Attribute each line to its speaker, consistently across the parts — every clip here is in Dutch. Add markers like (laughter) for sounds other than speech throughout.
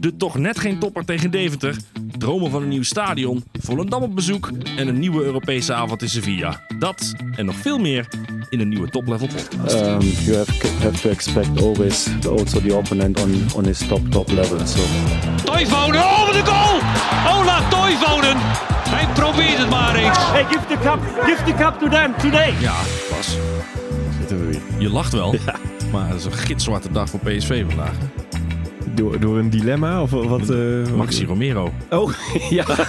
Speaker 1: De toch net geen topper tegen Deventer. Dromen van een nieuw stadion. Volendam op bezoek. En een nieuwe Europese avond in Sevilla. Dat en nog veel meer in een nieuwe toplevel podcast.
Speaker 2: Um, you have, have to expect always also the opponent on, on his top top level. So
Speaker 3: Toivonen, oh wat een goal! Ola Toivonen! Hij probeert het maar eens.
Speaker 4: Hey, give the cup, give the cup to them today.
Speaker 1: Ja, Bas. Je lacht wel. Maar het is een gitzwarte dag voor PSV vandaag.
Speaker 5: Door, door een dilemma? Of wat? eh,
Speaker 1: Maxi Romero.
Speaker 5: wat- (laughs) Oh, ja. (laughs)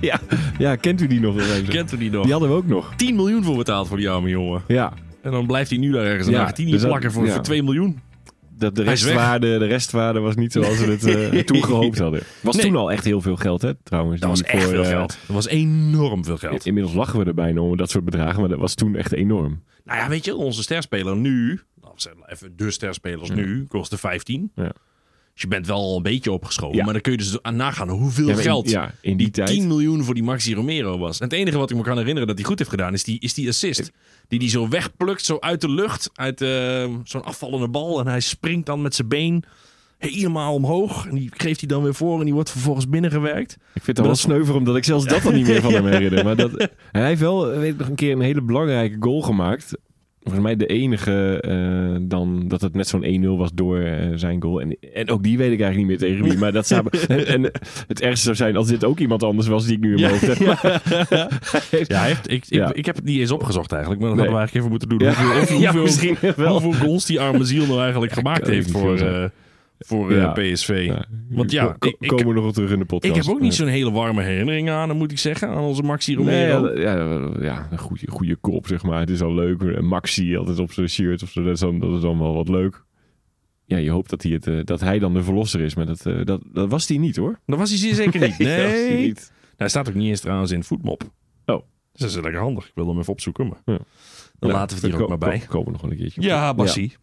Speaker 5: ja. Ja, kent u die nog? wel even?
Speaker 1: Kent u die nog?
Speaker 5: Die hadden we ook nog.
Speaker 1: 10 miljoen voor betaald voor die arme jongen.
Speaker 5: Ja.
Speaker 1: En dan blijft hij nu daar ergens in
Speaker 5: Ja,
Speaker 1: Argentinië
Speaker 5: dus dat-
Speaker 1: plakken voor,
Speaker 5: ja.
Speaker 1: voor 2 miljoen.
Speaker 5: De, de,
Speaker 1: Hij is weg.
Speaker 5: restwaarde, de restwaarde was niet zoals we het (laughs) eh, toen gehoopt hadden. Was
Speaker 1: Nee.
Speaker 5: toen al echt heel veel geld, hè? Trouwens.
Speaker 1: Dat was
Speaker 5: Die
Speaker 1: echt
Speaker 5: voor,
Speaker 1: veel
Speaker 5: eh,
Speaker 1: geld. Dat was enorm veel geld.
Speaker 5: Inmiddels lachen we er bijna om dat soort bedragen, maar dat was toen echt enorm.
Speaker 1: Nou ja, weet je, onze sterspeler nu, laten we zeggen, even de sterspelers nu, kostte 15.
Speaker 5: Ja.
Speaker 1: Dus je bent wel al een beetje opgeschoven,
Speaker 5: Ja.
Speaker 1: maar dan kun je dus aan nagaan hoeveel
Speaker 5: Ja, maar in-
Speaker 1: geld
Speaker 5: ja, in die tijd.
Speaker 1: 10 miljoen voor die Maxi Romero was. En het enige wat ik me kan herinneren dat hij goed heeft gedaan, is die, is die assist. Die hij zo wegplukt, zo uit de lucht, uit eh, zo'n afvallende bal. En hij springt dan met zijn been helemaal omhoog. En die geeft hij dan weer voor en die wordt vervolgens binnengewerkt.
Speaker 5: Ik vind het al wel sneuver omdat ik zelfs dat dan niet meer van
Speaker 1: (laughs)
Speaker 5: hem herinner. Maar dat, hij heeft wel eh, weet ik nog een keer een hele belangrijke goal gemaakt. Volgens mij de enige eh, dan dat het net zo'n 1-0 was door eh, zijn goal. En, en ook die weet ik eigenlijk niet meer tegen wie. Maar
Speaker 1: (laughs)
Speaker 5: dat samen, en, en het ergste zou zijn als dit ook iemand anders was die ik nu in mijn hoofd heb. Maar-
Speaker 1: Ja, hij heeft, ik, ik,
Speaker 5: Ja.
Speaker 1: ik heb het niet eens opgezocht eigenlijk, maar dat
Speaker 5: Nee.
Speaker 1: hadden we eigenlijk even moeten doen.
Speaker 5: Ja.
Speaker 1: Hoeveel,
Speaker 5: (laughs)
Speaker 1: hoeveel,
Speaker 5: Ja,
Speaker 1: hoeveel-
Speaker 5: misschien wel.
Speaker 1: hoeveel goals die arme ziel nou eigenlijk gemaakt
Speaker 5: kan
Speaker 1: heeft
Speaker 5: ik niet
Speaker 1: voor,
Speaker 5: veel
Speaker 1: eh, voor eh,
Speaker 5: Ja.
Speaker 1: PSV.
Speaker 5: Ja.
Speaker 1: Want ja,
Speaker 5: Ko-
Speaker 1: ik- ik-
Speaker 5: komen we nog wel terug in de podcast.
Speaker 1: Ik heb ook niet
Speaker 5: Ja.
Speaker 1: zo'n hele warme herinnering aan, moet ik zeggen, aan onze Maxi
Speaker 5: Nee,
Speaker 1: Romero.
Speaker 5: ja, ja, ja, een goede, goede kop, zeg maar. Het is al leuk. En Maxi altijd op zijn shirt of zo. Dat is dan, dat is dan wel wat leuk. Ja, je hoopt dat hij, het, eh, dat hij dan de verlosser is. Maar dat, eh, dat, dat was hij niet, hoor.
Speaker 1: Dat was hij zeer zeker
Speaker 5: (laughs)
Speaker 1: niet.
Speaker 5: Dat was hij
Speaker 1: Nee. Nou,
Speaker 5: niet.
Speaker 1: Hij staat ook niet eens trouwens in voetmop.
Speaker 5: Oh.
Speaker 1: Dus dat is lekker handig. Ik wilde hem even opzoeken, maar
Speaker 5: Ja.
Speaker 1: dan
Speaker 5: Nou,
Speaker 1: laten we het hier ook maar bij.
Speaker 5: Daar komen we nog wel een keertje op.
Speaker 1: Ja,
Speaker 5: Ja.
Speaker 1: Bassie.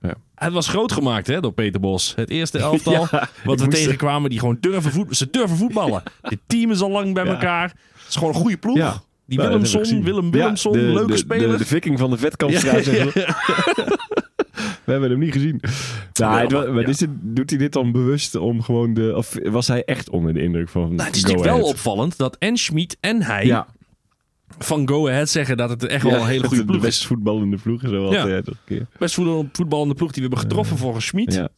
Speaker 5: Ja.
Speaker 1: Het was groot gemaakt hè, door Peter Bos. Het
Speaker 5: (laughs)
Speaker 1: eerste elftal wat we
Speaker 5: moest-
Speaker 1: tegenkwamen, die gewoon durven, voet, ze durven
Speaker 5: (laughs)
Speaker 1: voetballen. Dit team is al lang bij
Speaker 5: Ja.
Speaker 1: elkaar. Het is gewoon een goede ploeg. Die
Speaker 5: Ja. Nou, dat heb ik
Speaker 1: Willemson,
Speaker 5: gezien.
Speaker 1: Willem
Speaker 5: Ja,
Speaker 1: Willemson,
Speaker 5: de-
Speaker 1: leuke
Speaker 5: de-
Speaker 1: speler.
Speaker 5: De, de viking van de
Speaker 1: (laughs)
Speaker 5: vetkampstraat, zeggen we. We hebben hem niet gezien. Nou, het wa-
Speaker 1: maar-
Speaker 5: maar
Speaker 1: ja.
Speaker 5: is dit- doet hij dit dan bewust om gewoon de... Of was hij echt onder de indruk van
Speaker 1: Nou, het is natuurlijk wel opvallend dat en Schmid en hij
Speaker 5: Ja,
Speaker 1: van Go Ahead zeggen dat het echt wel
Speaker 5: Ja,
Speaker 1: een hele
Speaker 5: dat
Speaker 1: goede
Speaker 5: het de
Speaker 1: ploeg is.
Speaker 5: best voetballende ploeg is wel
Speaker 1: Ja.
Speaker 5: wat, eh, dat keer.
Speaker 1: Best voetbal- voetballende ploeg die we hebben getroffen volgens Schmid.
Speaker 5: Ja.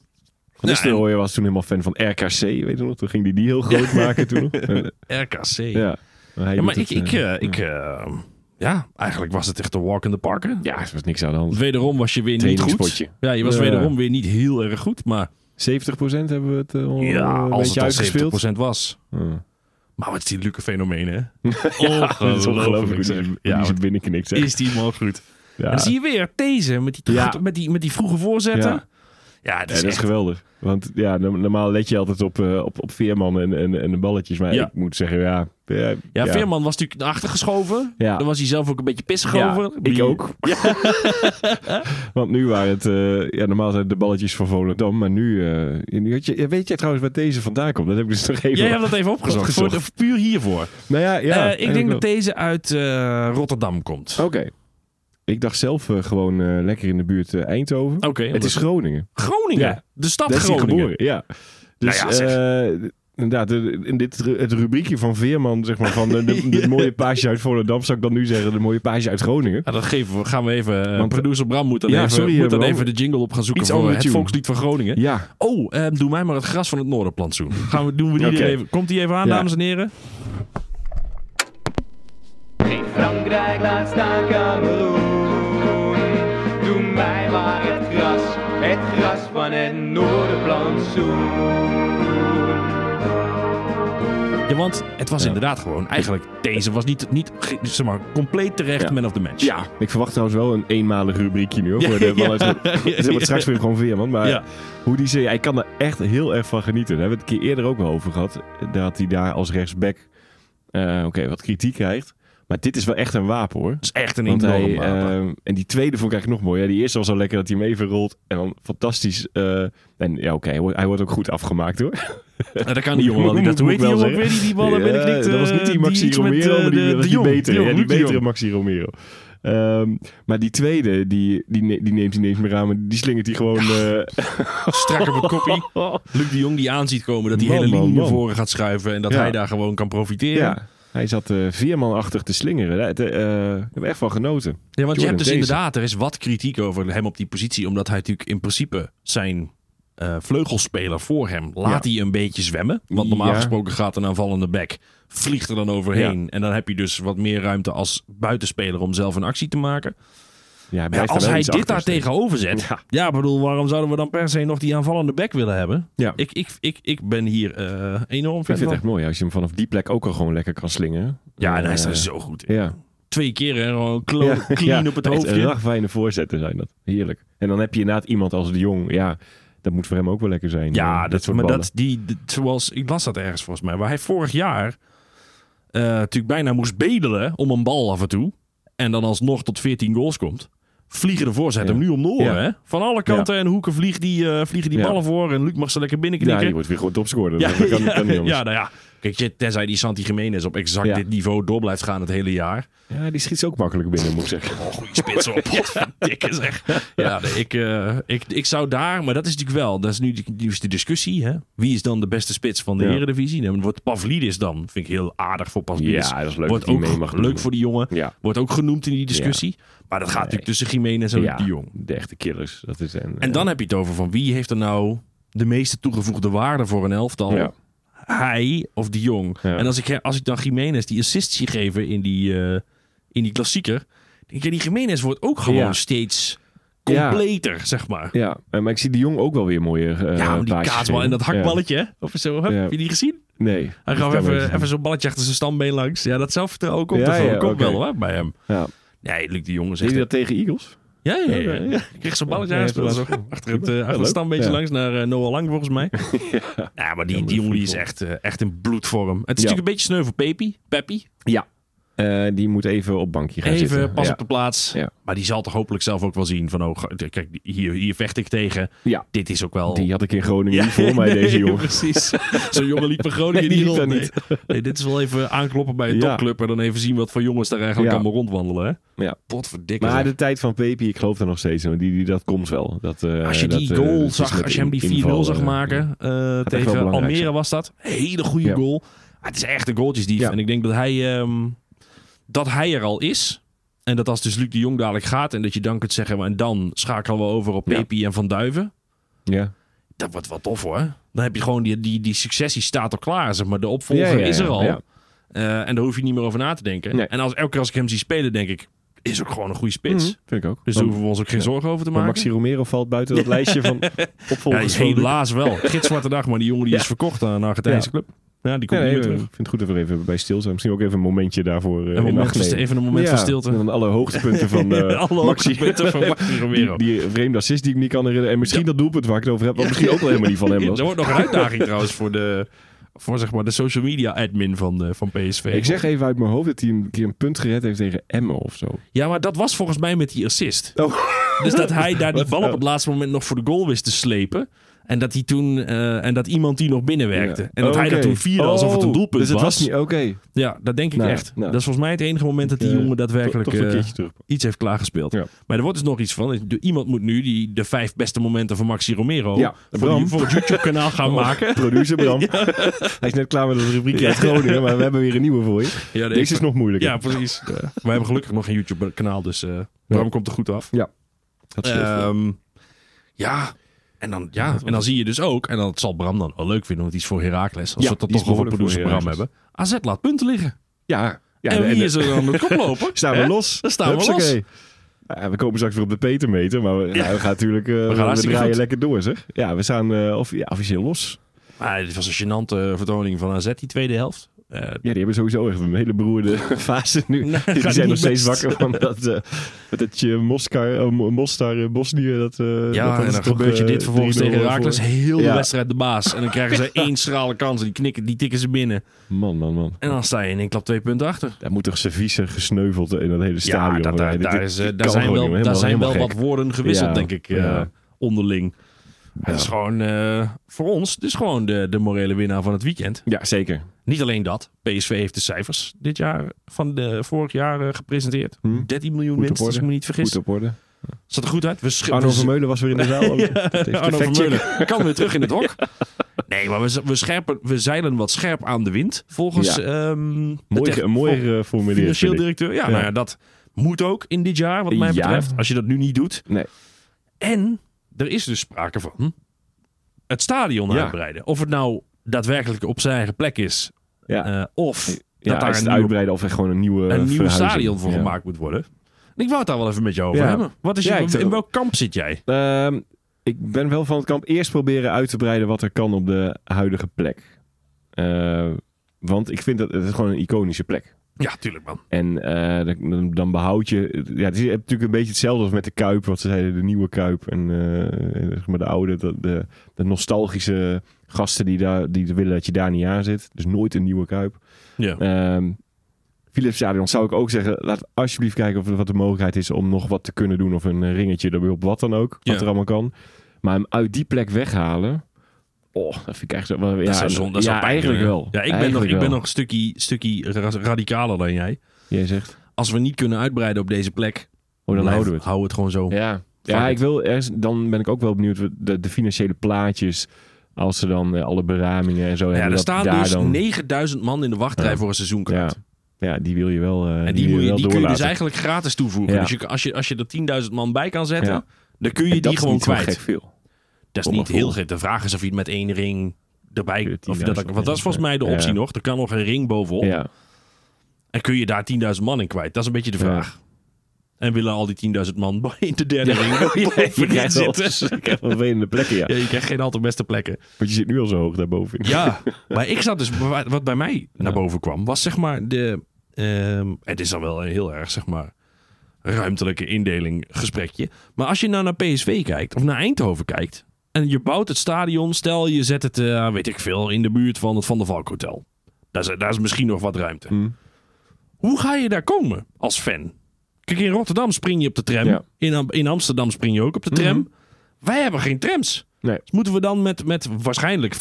Speaker 5: Van Nistelrooy was toen helemaal fan van RKC, weet je nog? Toen ging hij die heel groot
Speaker 1: (laughs)
Speaker 5: maken toen. nog. Eh,
Speaker 1: RKC.
Speaker 5: Ja, Maar hij
Speaker 1: Ja, maar
Speaker 5: doet
Speaker 1: ik,
Speaker 5: het,
Speaker 1: ik,
Speaker 5: eh,
Speaker 1: eh, ik, eh, ja, eigenlijk was het echt een walk in the park. hè?
Speaker 5: Ja, er was niks aan de hand.
Speaker 1: Wederom was je weer niet goed.
Speaker 5: Trainingspotje.
Speaker 1: Ja, je was
Speaker 5: Ja.
Speaker 1: wederom weer niet heel erg goed, maar
Speaker 5: 70% hebben we het eh, al
Speaker 1: ja,
Speaker 5: een
Speaker 1: als
Speaker 5: beetje
Speaker 1: het al
Speaker 5: uitgespeeld.
Speaker 1: 70% was.
Speaker 5: Ja.
Speaker 1: Hmm. Maar wat is die Luke fenomeen,
Speaker 5: (laughs)
Speaker 1: hè?
Speaker 5: Dat is ongelooflijk. hoe
Speaker 1: zeg.
Speaker 5: Die
Speaker 1: Ja,
Speaker 5: ja,
Speaker 1: wat
Speaker 5: binnenknikt zeg.
Speaker 1: is die man goed.
Speaker 5: Ja.
Speaker 1: En dan zie je weer deze met die,
Speaker 5: Ja.
Speaker 1: met die, met die vroege voorzetten. Ja, dat
Speaker 5: Ja. Ja,
Speaker 1: is
Speaker 5: dat is
Speaker 1: echt...
Speaker 5: geweldig. Want ja, no- normaal let je altijd op, eh, op, op Veerman en, en, en de balletjes. Maar
Speaker 1: Ja.
Speaker 5: ik moet zeggen, ja... Ja,
Speaker 1: Ja, Veerman was natuurlijk naar achter geschoven.
Speaker 5: Ja.
Speaker 1: Dan was hij zelf ook een beetje pissig
Speaker 5: Ja,
Speaker 1: over.
Speaker 5: ik
Speaker 1: Die-
Speaker 5: ook. Want nu waren het... eh, ja, normaal zijn het de balletjes van Volendam. Maar nu... eh, nu had je, ja, weet jij trouwens waar deze vandaan komt? Dat heb ik dus nog even...
Speaker 1: Jij hebt dat even opgezocht. Voor,
Speaker 5: Opgezocht.
Speaker 1: puur hiervoor.
Speaker 5: Nou ja, ja Oh.
Speaker 1: Eh, ik
Speaker 5: eigenlijk
Speaker 1: denk
Speaker 5: wel.
Speaker 1: dat deze uit eh, Rotterdam komt.
Speaker 5: Oké. Ik dacht zelf eh, gewoon eh, lekker in de buurt eh, Eindhoven.
Speaker 1: Oké,
Speaker 5: het is Groningen.
Speaker 1: Groningen.
Speaker 5: Ja.
Speaker 1: De stad
Speaker 5: Daar is hij
Speaker 1: Groningen.
Speaker 5: geboren. Ja. Dus
Speaker 1: Nou ja, zeg.
Speaker 5: eh, inderdaad, de- in dit, ru- het rubriekje van Veerman, zeg maar, van de, de,
Speaker 1: (laughs)
Speaker 5: de mooie page uit Volendam, zou ik dan nu zeggen, de mooie page uit Groningen.
Speaker 1: Ja, dat geven we, gaan we even. eh,
Speaker 5: Want-
Speaker 1: producer Bram moet dan,
Speaker 5: Ja,
Speaker 1: even,
Speaker 5: sorry,
Speaker 1: moet dan
Speaker 5: Bram.
Speaker 1: even de jingle op gaan zoeken
Speaker 5: Iets
Speaker 1: voor
Speaker 5: andere
Speaker 1: het
Speaker 5: tune.
Speaker 1: volkslied van Groningen.
Speaker 5: Ja.
Speaker 1: Oh, eh, doe mij maar het gras van het
Speaker 5: (laughs)
Speaker 1: Noorderplantsoen. Gaan we, doen we die
Speaker 5: Oké.
Speaker 1: er even, komt die even aan,
Speaker 5: Ja.
Speaker 1: dames en heren?
Speaker 6: Geen Frankrijk, laat staan Cameroen. Doe mij maar het gras, het gras van het Noorderplantsoen.
Speaker 1: Ja, want het was inderdaad gewoon. Eigenlijk, deze was niet, niet ge- zeg maar, compleet terecht
Speaker 5: Ja.
Speaker 1: man of the match.
Speaker 5: Ja, ik verwacht trouwens wel een eenmalig rubriekje nu hoor.
Speaker 1: Ja,
Speaker 5: voor de
Speaker 1: (laughs) ja.
Speaker 5: vanuit- Het wordt straks weer gewoon Veerman. Maar
Speaker 1: Ja.
Speaker 5: hoe die zei, hij kan er echt heel erg van genieten. Daar hebben we het een keer eerder ook wel over gehad. Daar had hij daar als rechtsback eh, oké, wat kritiek krijgt. Maar dit is wel echt een wapen hoor.
Speaker 1: Dat is echt een Nou,
Speaker 5: Want hij,
Speaker 1: enorme wapen.
Speaker 5: ehm, en die tweede vond ik eigenlijk nog mooi. Ja, die eerste was al lekker dat hij hem even rolt. En dan fantastisch. eh, en ja, oké, hij wordt- hij wordt ook goed afgemaakt hoor.
Speaker 1: Nou, dat
Speaker 5: (laughs)
Speaker 1: kan die jongen wel niet.
Speaker 5: Moet-
Speaker 1: Dat hoe
Speaker 5: moet
Speaker 1: heet die
Speaker 5: wel
Speaker 1: jongen ook weer
Speaker 5: zeggen.
Speaker 1: die die ballen
Speaker 5: Ja,
Speaker 1: binnenknikt?
Speaker 5: dat was
Speaker 1: eh,
Speaker 5: niet die Maxi
Speaker 1: iets met,
Speaker 5: Romero,
Speaker 1: eh,
Speaker 5: maar die,
Speaker 1: de-
Speaker 5: was
Speaker 1: de
Speaker 5: die
Speaker 1: Jong.
Speaker 5: betere.
Speaker 1: Jong,
Speaker 5: ja, die
Speaker 1: Luc de
Speaker 5: betere
Speaker 1: Jong.
Speaker 5: Maxi Romero. Ehm, maar die tweede, die, die, ne- die neemt hij niet eens meer aan, maar die slingert hij gewoon...
Speaker 1: (laughs)
Speaker 5: eh,
Speaker 1: Strak op het
Speaker 5: (laughs)
Speaker 1: koppie. Luc de Jong die aanziet komen dat die
Speaker 5: Man,
Speaker 1: hele
Speaker 5: man,
Speaker 1: linie naar
Speaker 5: man.
Speaker 1: voren gaat schuiven. En dat
Speaker 5: Ja.
Speaker 1: hij daar gewoon kan profiteren. Ja,
Speaker 5: ja, hij zat eh, veermanachtig te slingeren. Daar daar, eh, hebben we echt van genoten.
Speaker 1: want je
Speaker 5: Jordan
Speaker 1: hebt dus
Speaker 5: Thees.
Speaker 1: inderdaad, er is wat kritiek over hem op die positie. Omdat hij natuurlijk in principe zijn eh, vleugelspeler voor hem laat hij een beetje zwemmen. Want normaal
Speaker 5: Ja.
Speaker 1: gesproken gaat een aanvallende back, vliegt er dan overheen. En dan heb je dus wat meer ruimte als buitenspeler om zelf een actie te maken.
Speaker 5: Ja, hij
Speaker 1: Maar ja,
Speaker 5: blijft
Speaker 1: als
Speaker 5: wel
Speaker 1: hij
Speaker 5: iets
Speaker 1: dit
Speaker 5: achter
Speaker 1: daar
Speaker 5: staan.
Speaker 1: tegenover zet. Ja.
Speaker 5: Ja.
Speaker 1: ik bedoel, waarom zouden we dan per se nog die aanvallende back willen hebben?
Speaker 5: Ja.
Speaker 1: Ik, ik, ik, ik ben hier eh, enorm
Speaker 5: Ik vind
Speaker 1: fan
Speaker 5: het
Speaker 1: van.
Speaker 5: echt mooi als je hem vanaf die plek ook al gewoon lekker kan slingeren.
Speaker 1: Ja, en hij is
Speaker 5: Eh,
Speaker 1: daar zo goed in.
Speaker 5: Ja.
Speaker 1: Twee keer hè, gewoon klo-
Speaker 5: Ja,
Speaker 1: clean
Speaker 5: ja.
Speaker 1: op het
Speaker 5: Echt
Speaker 1: hoofdje.
Speaker 5: Ragwijnen voorzetten zijn dat. Heerlijk. En dan heb je inderdaad iemand als de Jong. Ja, dat moet voor hem ook wel lekker zijn. eh,
Speaker 1: Ja, dat,
Speaker 5: soort
Speaker 1: maar
Speaker 5: ballen.
Speaker 1: dat, die, dat- zoals, ik las dat ergens volgens mij, waar hij vorig jaar eh, natuurlijk bijna moest bedelen om een bal af en toe. En dan alsnog tot 14 goals komt. Vliegen de voorzet
Speaker 5: Ja.
Speaker 1: hem nu om de oren,
Speaker 5: Ja.
Speaker 1: hè? Van alle kanten en hoeken vliegen die, eh, vliegen die
Speaker 5: Ja.
Speaker 1: ballen voor. En Luc mag ze lekker
Speaker 5: Ja,
Speaker 1: binnenknikken.
Speaker 5: die wordt weer gewoon topscorer.
Speaker 1: Ja,
Speaker 5: Ja, dat kan,
Speaker 1: ja,
Speaker 5: kan niet anders.
Speaker 1: ja, nou ja. Kijk, je- tenzij die Santi Jiménez op exact
Speaker 5: Ja.
Speaker 1: dit niveau door blijft gaan het hele jaar.
Speaker 5: Ja, die schiet ze ook makkelijk binnen, moet ik zeggen.
Speaker 1: Oh, goede spits (laughs) op. Dikke zeg. Ja, nee, ik, eh, ik, ik zou daar... Maar dat is natuurlijk wel... Dat is nu, nu is de discussie, hè. Wie is dan de beste spits van de
Speaker 5: Ja.
Speaker 1: Eredivisie? Nou, wordt Pavlidis dan. Vind ik heel aardig voor Pavlidis.
Speaker 5: Ja, dat is leuk
Speaker 1: Wordt
Speaker 5: dat
Speaker 1: ook
Speaker 5: hij mee mag doen.
Speaker 1: leuk voor die jongen.
Speaker 5: Ja.
Speaker 1: Wordt ook genoemd in die discussie. Maar dat gaat natuurlijk tussen Jiménez en
Speaker 5: ja,
Speaker 1: de Jong.
Speaker 5: de echte killers. Dat is een, eh,
Speaker 1: En dan heb je het over van wie heeft er nou de meeste toegevoegde waarde voor een elftal?
Speaker 5: Ja.
Speaker 1: Hij of de Jong.
Speaker 5: Ja.
Speaker 1: En als ik, als ik dan Jiménez die assist zie geven in die, eh, in die klassieker. Denk je, die Jiménez wordt ook gewoon
Speaker 5: Ja.
Speaker 1: steeds
Speaker 5: Ja.
Speaker 1: completer, zeg maar.
Speaker 5: Ja, eh, maar ik zie de Jong ook wel weer mooie eh
Speaker 1: ja, maar die
Speaker 5: paasjes
Speaker 1: kaasbal
Speaker 5: geven.
Speaker 1: en dat hakballetje. hè? Of zo, hup,
Speaker 5: Ja.
Speaker 1: heb je die gezien?
Speaker 5: Ja, nee.
Speaker 1: Hij
Speaker 5: dat
Speaker 1: gaf
Speaker 5: kan wel
Speaker 1: even,
Speaker 5: eens.
Speaker 1: even zo'n balletje achter zijn stambeen langs. Ja, dat zelf ook komt
Speaker 5: Ja,
Speaker 1: er voor.
Speaker 5: ja,
Speaker 1: komt
Speaker 5: oké.
Speaker 1: wel hoor, bij hem.
Speaker 5: Ja.
Speaker 1: Nee, Luc de Jong is
Speaker 5: Deed
Speaker 1: echt
Speaker 5: hij dat tegen Eagles?
Speaker 1: Ja, ja, ja.
Speaker 5: Ja,
Speaker 1: ja.
Speaker 5: ja.
Speaker 1: Ik kreeg zo'n balletje
Speaker 5: Ja,
Speaker 1: aan.
Speaker 5: ja,
Speaker 1: speelde
Speaker 5: dat is
Speaker 1: zo achter het, eh, achter
Speaker 5: leuk.
Speaker 1: het standbeetje
Speaker 5: Ja.
Speaker 1: langs naar eh, Noah Lang, volgens
Speaker 5: (laughs)
Speaker 1: mij. ja. maar die, die jongen die is
Speaker 5: voetbal.
Speaker 1: echt, eh, echt in bloedvorm. Het is
Speaker 5: Ja.
Speaker 1: natuurlijk een beetje sneu voor Pepi. Peppy.
Speaker 5: Ja. Eh, die moet even op bankje gaan
Speaker 1: Even
Speaker 5: zitten.
Speaker 1: pas
Speaker 5: ja.
Speaker 1: op de plaats.
Speaker 5: Ja.
Speaker 1: Maar die zal toch hopelijk zelf ook wel zien van... Oh, ga- kijk, hier, hier vecht ik tegen.
Speaker 5: Ja.
Speaker 1: Dit is ook wel...
Speaker 5: Die had ik in Groningen niet
Speaker 1: (laughs)
Speaker 5: voor mij,
Speaker 1: Nee,
Speaker 5: deze jongen.
Speaker 1: precies.
Speaker 5: (laughs)
Speaker 1: Zo'n jongen liep bij Groningen
Speaker 5: Nee, die
Speaker 1: niet
Speaker 5: liep
Speaker 1: rond.
Speaker 5: daar (laughs)
Speaker 1: Nee. Nee, dit is wel even aankloppen bij een
Speaker 5: Ja.
Speaker 1: topclub... en dan even zien wat voor jongens daar eigenlijk
Speaker 5: Ja.
Speaker 1: allemaal rondwandelen. Hè?
Speaker 5: Ja.
Speaker 1: Potverdikke.
Speaker 5: Maar
Speaker 1: zeg.
Speaker 5: de tijd van Pepe, ik geloof daar nog steeds in. Die, die, dat komt wel. Dat, eh,
Speaker 1: Als je die
Speaker 5: dat, eh,
Speaker 1: goal
Speaker 5: dat is
Speaker 1: zag,
Speaker 5: met
Speaker 1: als je hem die 4-0
Speaker 5: inval,
Speaker 1: zag
Speaker 5: eh,
Speaker 1: maken eh,
Speaker 5: wel
Speaker 1: tegen
Speaker 5: belangrijk
Speaker 1: Almere
Speaker 5: zijn.
Speaker 1: was dat. Hele goede
Speaker 5: Ja.
Speaker 1: goal. Ah, het is echt een goaltjesdief.
Speaker 5: Ja.
Speaker 1: En ik denk dat hij, ehm, dat hij er al is. En dat als dus Luc de Jong dadelijk gaat en dat je dan kunt zeggen... maar en dan schakelen we over op
Speaker 5: Ja.
Speaker 1: Pepi en Van Duiven.
Speaker 5: Ja.
Speaker 1: Dat wordt wel tof hoor. Dan heb je gewoon die, die, die successie staat al klaar. Zeg maar. De opvolger
Speaker 5: Ja, ja, ja,
Speaker 1: is er al.
Speaker 5: ja.
Speaker 1: Eh, en daar hoef je niet meer over na te denken.
Speaker 5: Nee.
Speaker 1: En als, elke keer als ik hem zie spelen denk ik... is ook gewoon een goede spits.
Speaker 5: Mhm, Vind ik ook.
Speaker 1: Dus daar hoeven we ons ook geen zorgen over te
Speaker 5: Maar
Speaker 1: maken.
Speaker 5: Maxi Romero valt
Speaker 1: (laughs)
Speaker 5: buiten dat lijstje van
Speaker 1: Ja,
Speaker 5: opvolgers. van Luc.
Speaker 1: helaas wel. Gitzwarte dag, maar die jongen die
Speaker 5: Ja.
Speaker 1: is verkocht aan een Argentijnse
Speaker 5: Ja.
Speaker 1: club. Ja, die
Speaker 5: Ja,
Speaker 1: komt eh,
Speaker 5: nee,
Speaker 1: niet
Speaker 5: ik
Speaker 1: meer
Speaker 5: vind
Speaker 1: terug.
Speaker 5: het goed dat we er even bij stil zijn. Misschien ook even een momentje daarvoor. eh, in
Speaker 1: Een moment
Speaker 5: acht
Speaker 1: van,
Speaker 5: nemen.
Speaker 1: even een moment
Speaker 5: Ja,
Speaker 1: van stilte.
Speaker 5: En dan alle hoogtepunten
Speaker 1: (laughs)
Speaker 5: van eh,
Speaker 1: Alle
Speaker 5: Maxi.
Speaker 1: hoogtepunten
Speaker 5: (laughs)
Speaker 1: van Maxi Romero.
Speaker 5: Die, die vreemde assist die ik me niet kan herinneren. En misschien dat doelpunt waar ik het over heb. Wat misschien ook wel helemaal niet van
Speaker 1: (laughs)
Speaker 5: hem was.
Speaker 1: Er wordt nog een uitdaging trouwens voor de, voor zeg maar de social media admin van, de, van PSV.
Speaker 5: Ik zeg even uit mijn hoofd dat hij een keer een punt gered heeft tegen Emmen of zo.
Speaker 1: Ja, maar dat was volgens mij met die assist.
Speaker 5: Oh.
Speaker 1: Dus dat hij daar
Speaker 5: (laughs)
Speaker 1: die
Speaker 5: Wat?
Speaker 1: bal op
Speaker 5: Oh.
Speaker 1: het laatste moment nog voor de goal wist te slepen. En dat, hij toen, eh, en dat iemand die nog binnenwerkte.
Speaker 5: Ja. Oh,
Speaker 1: En dat hij dat
Speaker 5: Oké.
Speaker 1: toen vierde alsof het een
Speaker 5: Oh,
Speaker 1: doelpunt
Speaker 5: Dus het was
Speaker 1: was.
Speaker 5: niet oké.
Speaker 1: Ja, dat denk ik
Speaker 5: Nou,
Speaker 1: echt.
Speaker 5: nou.
Speaker 1: Dat is volgens mij het enige moment dat die
Speaker 5: Eh,
Speaker 1: jongen daadwerkelijk...
Speaker 5: Toch een
Speaker 1: eh,
Speaker 5: keertje terug.
Speaker 1: iets heeft klaargespeeld.
Speaker 5: Ja.
Speaker 1: Maar er wordt dus nog iets van. Iemand moet nu die, de vijf beste momenten van Maxi Romero
Speaker 5: Ja,
Speaker 1: voor,
Speaker 5: Bram. Oh.
Speaker 1: die- voor het YouTube-kanaal gaan maken.
Speaker 5: Producer
Speaker 1: (laughs)
Speaker 5: Bram. Hij is net klaar met het rubriekje uit Groningen, maar we hebben weer een nieuwe voor je.
Speaker 1: Ja,
Speaker 5: Deze is nog moeilijker.
Speaker 1: Ja, precies. We hebben gelukkig nog een YouTube-kanaal, dus eh, Bram komt er goed af.
Speaker 5: Dat is heel veel.
Speaker 1: Ehm, ja. En dan, ja, en dan zie je dus ook, en dat zal Bram dan wel leuk vinden, want die is voor Herakles. Als
Speaker 5: Ja,
Speaker 1: we het
Speaker 5: die
Speaker 1: dan
Speaker 5: is
Speaker 1: toch over
Speaker 5: behoorlijk voor
Speaker 1: producer Bram hebben.
Speaker 5: Heracles.
Speaker 1: AZ laat punten liggen.
Speaker 5: ja. ja
Speaker 1: en wie
Speaker 5: de-
Speaker 1: is er dan
Speaker 5: (laughs)
Speaker 1: de koploper?
Speaker 5: Staan we
Speaker 1: Hè?
Speaker 5: los.
Speaker 1: Dan staan we los.
Speaker 5: Hupsakee. Nou Ja, we komen straks weer op de Petermeter, maar we, ja, we gaan natuurlijk eh, we,
Speaker 1: hartstikke
Speaker 5: draaien
Speaker 1: goed.
Speaker 5: lekker door, zeg. Ja, we staan eh, of, ja, officieel los.
Speaker 1: Maar Ah, dit was een gênante vertoning van AZ, die tweede helft. Eh,
Speaker 5: Ja, die hebben sowieso echt een hele
Speaker 1: (laughs)
Speaker 5: beroerde fase nu. die
Speaker 1: gaat
Speaker 5: zijn nog
Speaker 1: niet best.
Speaker 5: steeds wakker van dat, eh met dat je Mostar, eh, Mo- Mostar eh, Bosnië. Dat, eh, dat
Speaker 1: Ja,
Speaker 5: hadden
Speaker 1: en
Speaker 5: ze
Speaker 1: dan
Speaker 5: toch,
Speaker 1: gebeurt je
Speaker 5: eh,
Speaker 1: dit vervolgens
Speaker 5: 3-0
Speaker 1: tegen
Speaker 5: voor.
Speaker 1: Herakles. Heel de
Speaker 5: Ja.
Speaker 1: wedstrijd de baas. En dan krijgen
Speaker 5: (laughs)
Speaker 1: ze één schrale kans. En die, knikken, die tikken ze binnen.
Speaker 5: Man, man, man.
Speaker 1: En dan sta je in één klap twee punten achter.
Speaker 5: Daar moet toch service gesneuveld in dat hele stadion.
Speaker 1: Ja, dat, daar,
Speaker 5: Dit-
Speaker 1: daar,
Speaker 5: dit-
Speaker 1: is, eh,
Speaker 5: dit
Speaker 1: daar
Speaker 5: kan
Speaker 1: zijn
Speaker 5: gewoon
Speaker 1: wel,
Speaker 5: niet meer.
Speaker 1: daar zijn
Speaker 5: Helemaal-
Speaker 1: wel wat
Speaker 5: helemaal
Speaker 1: woorden gewisseld,
Speaker 5: Ja,
Speaker 1: denk ik, eh,
Speaker 5: ja.
Speaker 1: onderling. Het is gewoon eh, voor ons dus gewoon de, de morele winnaar van het weekend.
Speaker 5: Ja, zeker.
Speaker 1: Niet alleen dat. PSV heeft de cijfers dit jaar van de, vorig jaar eh, gepresenteerd.
Speaker 5: Hm?
Speaker 1: 13 miljoen
Speaker 5: op
Speaker 1: winst, als ik
Speaker 5: orde.
Speaker 1: me niet vergis.
Speaker 5: Goed Ah, op orde.
Speaker 1: Zat er goed uit. We sch-
Speaker 5: Arno
Speaker 1: we-
Speaker 5: Vermeulen was weer in de
Speaker 1: (laughs)
Speaker 5: zaal. Het heeft
Speaker 1: Arno
Speaker 5: effect, check.
Speaker 1: Vermeulen (laughs) kan weer terug in het hok. Nee, maar we, z- we, scherpen, we zeilen wat scherp aan de wind. Volgens
Speaker 5: Ja.
Speaker 1: ehm, de
Speaker 5: Mooi,
Speaker 1: tech-
Speaker 5: ge- mooi geformuleerd.
Speaker 1: financieel
Speaker 5: vind eh, ik.
Speaker 1: directeur. Ja,
Speaker 5: Ja.
Speaker 1: nou ja, dat moet ook in dit jaar, wat mij
Speaker 5: Ja.
Speaker 1: betreft. Als je dat nu niet doet.
Speaker 5: Nee.
Speaker 1: En er is dus sprake van het stadion
Speaker 5: Ja.
Speaker 1: uitbreiden. Of het nou daadwerkelijk op zijn eigen plek is.
Speaker 5: Ja.
Speaker 1: eh, of
Speaker 5: Ja,
Speaker 1: dat daar
Speaker 5: is
Speaker 1: een
Speaker 5: het
Speaker 1: nieuwe
Speaker 5: uitbreiden of echt gewoon een nieuwe eh,
Speaker 1: een nieuw
Speaker 5: verhuizing.
Speaker 1: stadion voor
Speaker 5: Ja.
Speaker 1: gemaakt moet worden. En ik wou het daar wel even met jou over
Speaker 5: Ja.
Speaker 1: hebben. Wat is
Speaker 5: Ja,
Speaker 1: je,
Speaker 5: ik-
Speaker 1: in welk kamp zit jij?
Speaker 5: Ehm, ik ben wel van het kamp eerst proberen uit te breiden wat er kan op de huidige plek. Eh, want ik vind dat het is gewoon een iconische plek.
Speaker 1: Ja, tuurlijk man.
Speaker 5: En eh, dan, dan behoud je... Ja, het is natuurlijk een beetje hetzelfde als met de Kuip. Wat ze zeiden, de nieuwe Kuip. En eh, zeg maar de oude, de, de, de nostalgische gasten die, daar, die willen dat je daar niet aan zit. Dus nooit een nieuwe Kuip.
Speaker 1: Ja.
Speaker 5: Ehm Philips Stadion zou ik ook zeggen, laat alsjeblieft kijken of er wat de mogelijkheid is om nog wat te kunnen doen. Of een eh, ringetje erbij op wat dan ook. Wat
Speaker 1: Ja.
Speaker 5: er allemaal kan. Maar hem uit die plek weghalen. Oh, dat vind ik echt zo. wel- Ja,
Speaker 1: dat zou zonde- dat
Speaker 5: ja,
Speaker 1: zou pijn
Speaker 5: eigenlijk
Speaker 1: doen, hè?
Speaker 5: wel.
Speaker 1: Ja, ik ben, nog,
Speaker 5: Eigenlijk
Speaker 1: ik ben
Speaker 5: wel.
Speaker 1: nog een stukje, stukje ra- radicaler dan jij.
Speaker 5: Jij zegt,
Speaker 1: Als we niet kunnen uitbreiden op deze plek,
Speaker 5: oh, dan
Speaker 1: blijf-
Speaker 5: houden we het.
Speaker 1: hou het gewoon zo.
Speaker 5: Ja, ja
Speaker 1: it.
Speaker 5: ik wil, er is- dan ben ik ook wel benieuwd wat de, de financiële plaatjes. Als ze dan eh, alle beramingen en zo
Speaker 1: Ja,
Speaker 5: hebben.
Speaker 1: er
Speaker 5: dat
Speaker 1: staan
Speaker 5: daar
Speaker 1: dus
Speaker 5: dan-
Speaker 1: 9000 man in de wachtrij
Speaker 5: Ja.
Speaker 1: voor een seizoenkaart.
Speaker 5: ja, ja, die wil je wel eh,
Speaker 1: En die, moet
Speaker 5: wil
Speaker 1: je,
Speaker 5: wel
Speaker 1: die kun je dus
Speaker 5: doorlaten.
Speaker 1: eigenlijk gratis toevoegen.
Speaker 5: Ja.
Speaker 1: Dus je, als, je, als je er 10.000 man bij kan zetten,
Speaker 5: Ja.
Speaker 1: dan kun je
Speaker 5: En dat
Speaker 1: die
Speaker 5: is
Speaker 1: gewoon
Speaker 5: niet zo
Speaker 1: kwijt.
Speaker 5: gek veel.
Speaker 1: Dat is
Speaker 5: Kom maar
Speaker 1: niet heel
Speaker 5: voor.
Speaker 1: gek. De vraag is of je het met één ring erbij... Of je dat,
Speaker 5: 10.000
Speaker 1: want dat is volgens mij de
Speaker 5: ja.
Speaker 1: optie nog. Er kan nog een ring bovenop.
Speaker 5: Ja,
Speaker 1: En kun je daar 10.000 man in kwijt? Dat is een beetje de
Speaker 5: Ja.
Speaker 1: vraag. En willen al die 10.000 man (laughs) in de derde ring (laughs)
Speaker 5: (laughs)
Speaker 1: bovenin zitten?
Speaker 5: Ik heb wel vervelende plekken, ja.
Speaker 1: Ja, je krijgt geen al te beste plekken.
Speaker 5: Want je zit nu al zo hoog daarboven.
Speaker 1: (laughs) Ja, maar ik zat dus... Wat bij mij naar boven kwam, was zeg maar de... ehm, het is dan wel een heel erg, zeg maar... ruimtelijke indeling gesprekje. Maar als je nou naar PSV kijkt, of naar Eindhoven kijkt... en je bouwt het stadion, stel je zet het, eh, weet ik veel... in de buurt van het Van der Valk Hotel. Daar is, daar is misschien nog wat ruimte. Hoe ga je daar komen als fan? Kijk, in Rotterdam spring je op de tram.
Speaker 5: Ja.
Speaker 1: In, Am- in Amsterdam spring je ook op de tram. Wij hebben geen trams.
Speaker 5: (laughs) Nee.
Speaker 1: Dus moeten we dan met, met waarschijnlijk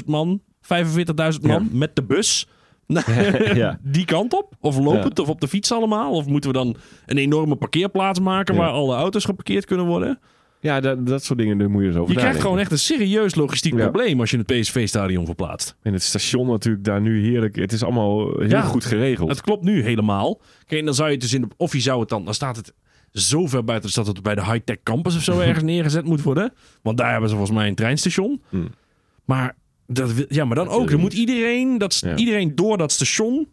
Speaker 1: 40.000 man, 45.000 man met de bus naar-
Speaker 5: Ja.
Speaker 1: (laughs) die kant op? Of lopend of op de fiets allemaal? Of moeten we dan een enorme parkeerplaats maken
Speaker 5: Ja.
Speaker 1: waar alle auto's geparkeerd kunnen worden?
Speaker 5: Ja, dat, dat soort dingen, daar moet je dus over
Speaker 1: Je krijgt gewoon echt een serieus logistiek
Speaker 5: Ja.
Speaker 1: probleem als je het PSV-stadion verplaatst.
Speaker 5: En het station natuurlijk daar nu heerlijk. Het is allemaal heel
Speaker 1: Ja.
Speaker 5: goed geregeld.
Speaker 1: Het klopt nu helemaal. Kijk, en dan zou je het dus in de. Of je zou het dan. Dan staat het zo ver buiten de stad dat het bij de high-tech campus of zo ergens neergezet moet worden. Want daar hebben ze volgens mij een treinstation. Maar, dat, wil- ja, maar dan ook. Dan moet iedereen, dat,
Speaker 5: Ja.
Speaker 1: iedereen door dat station.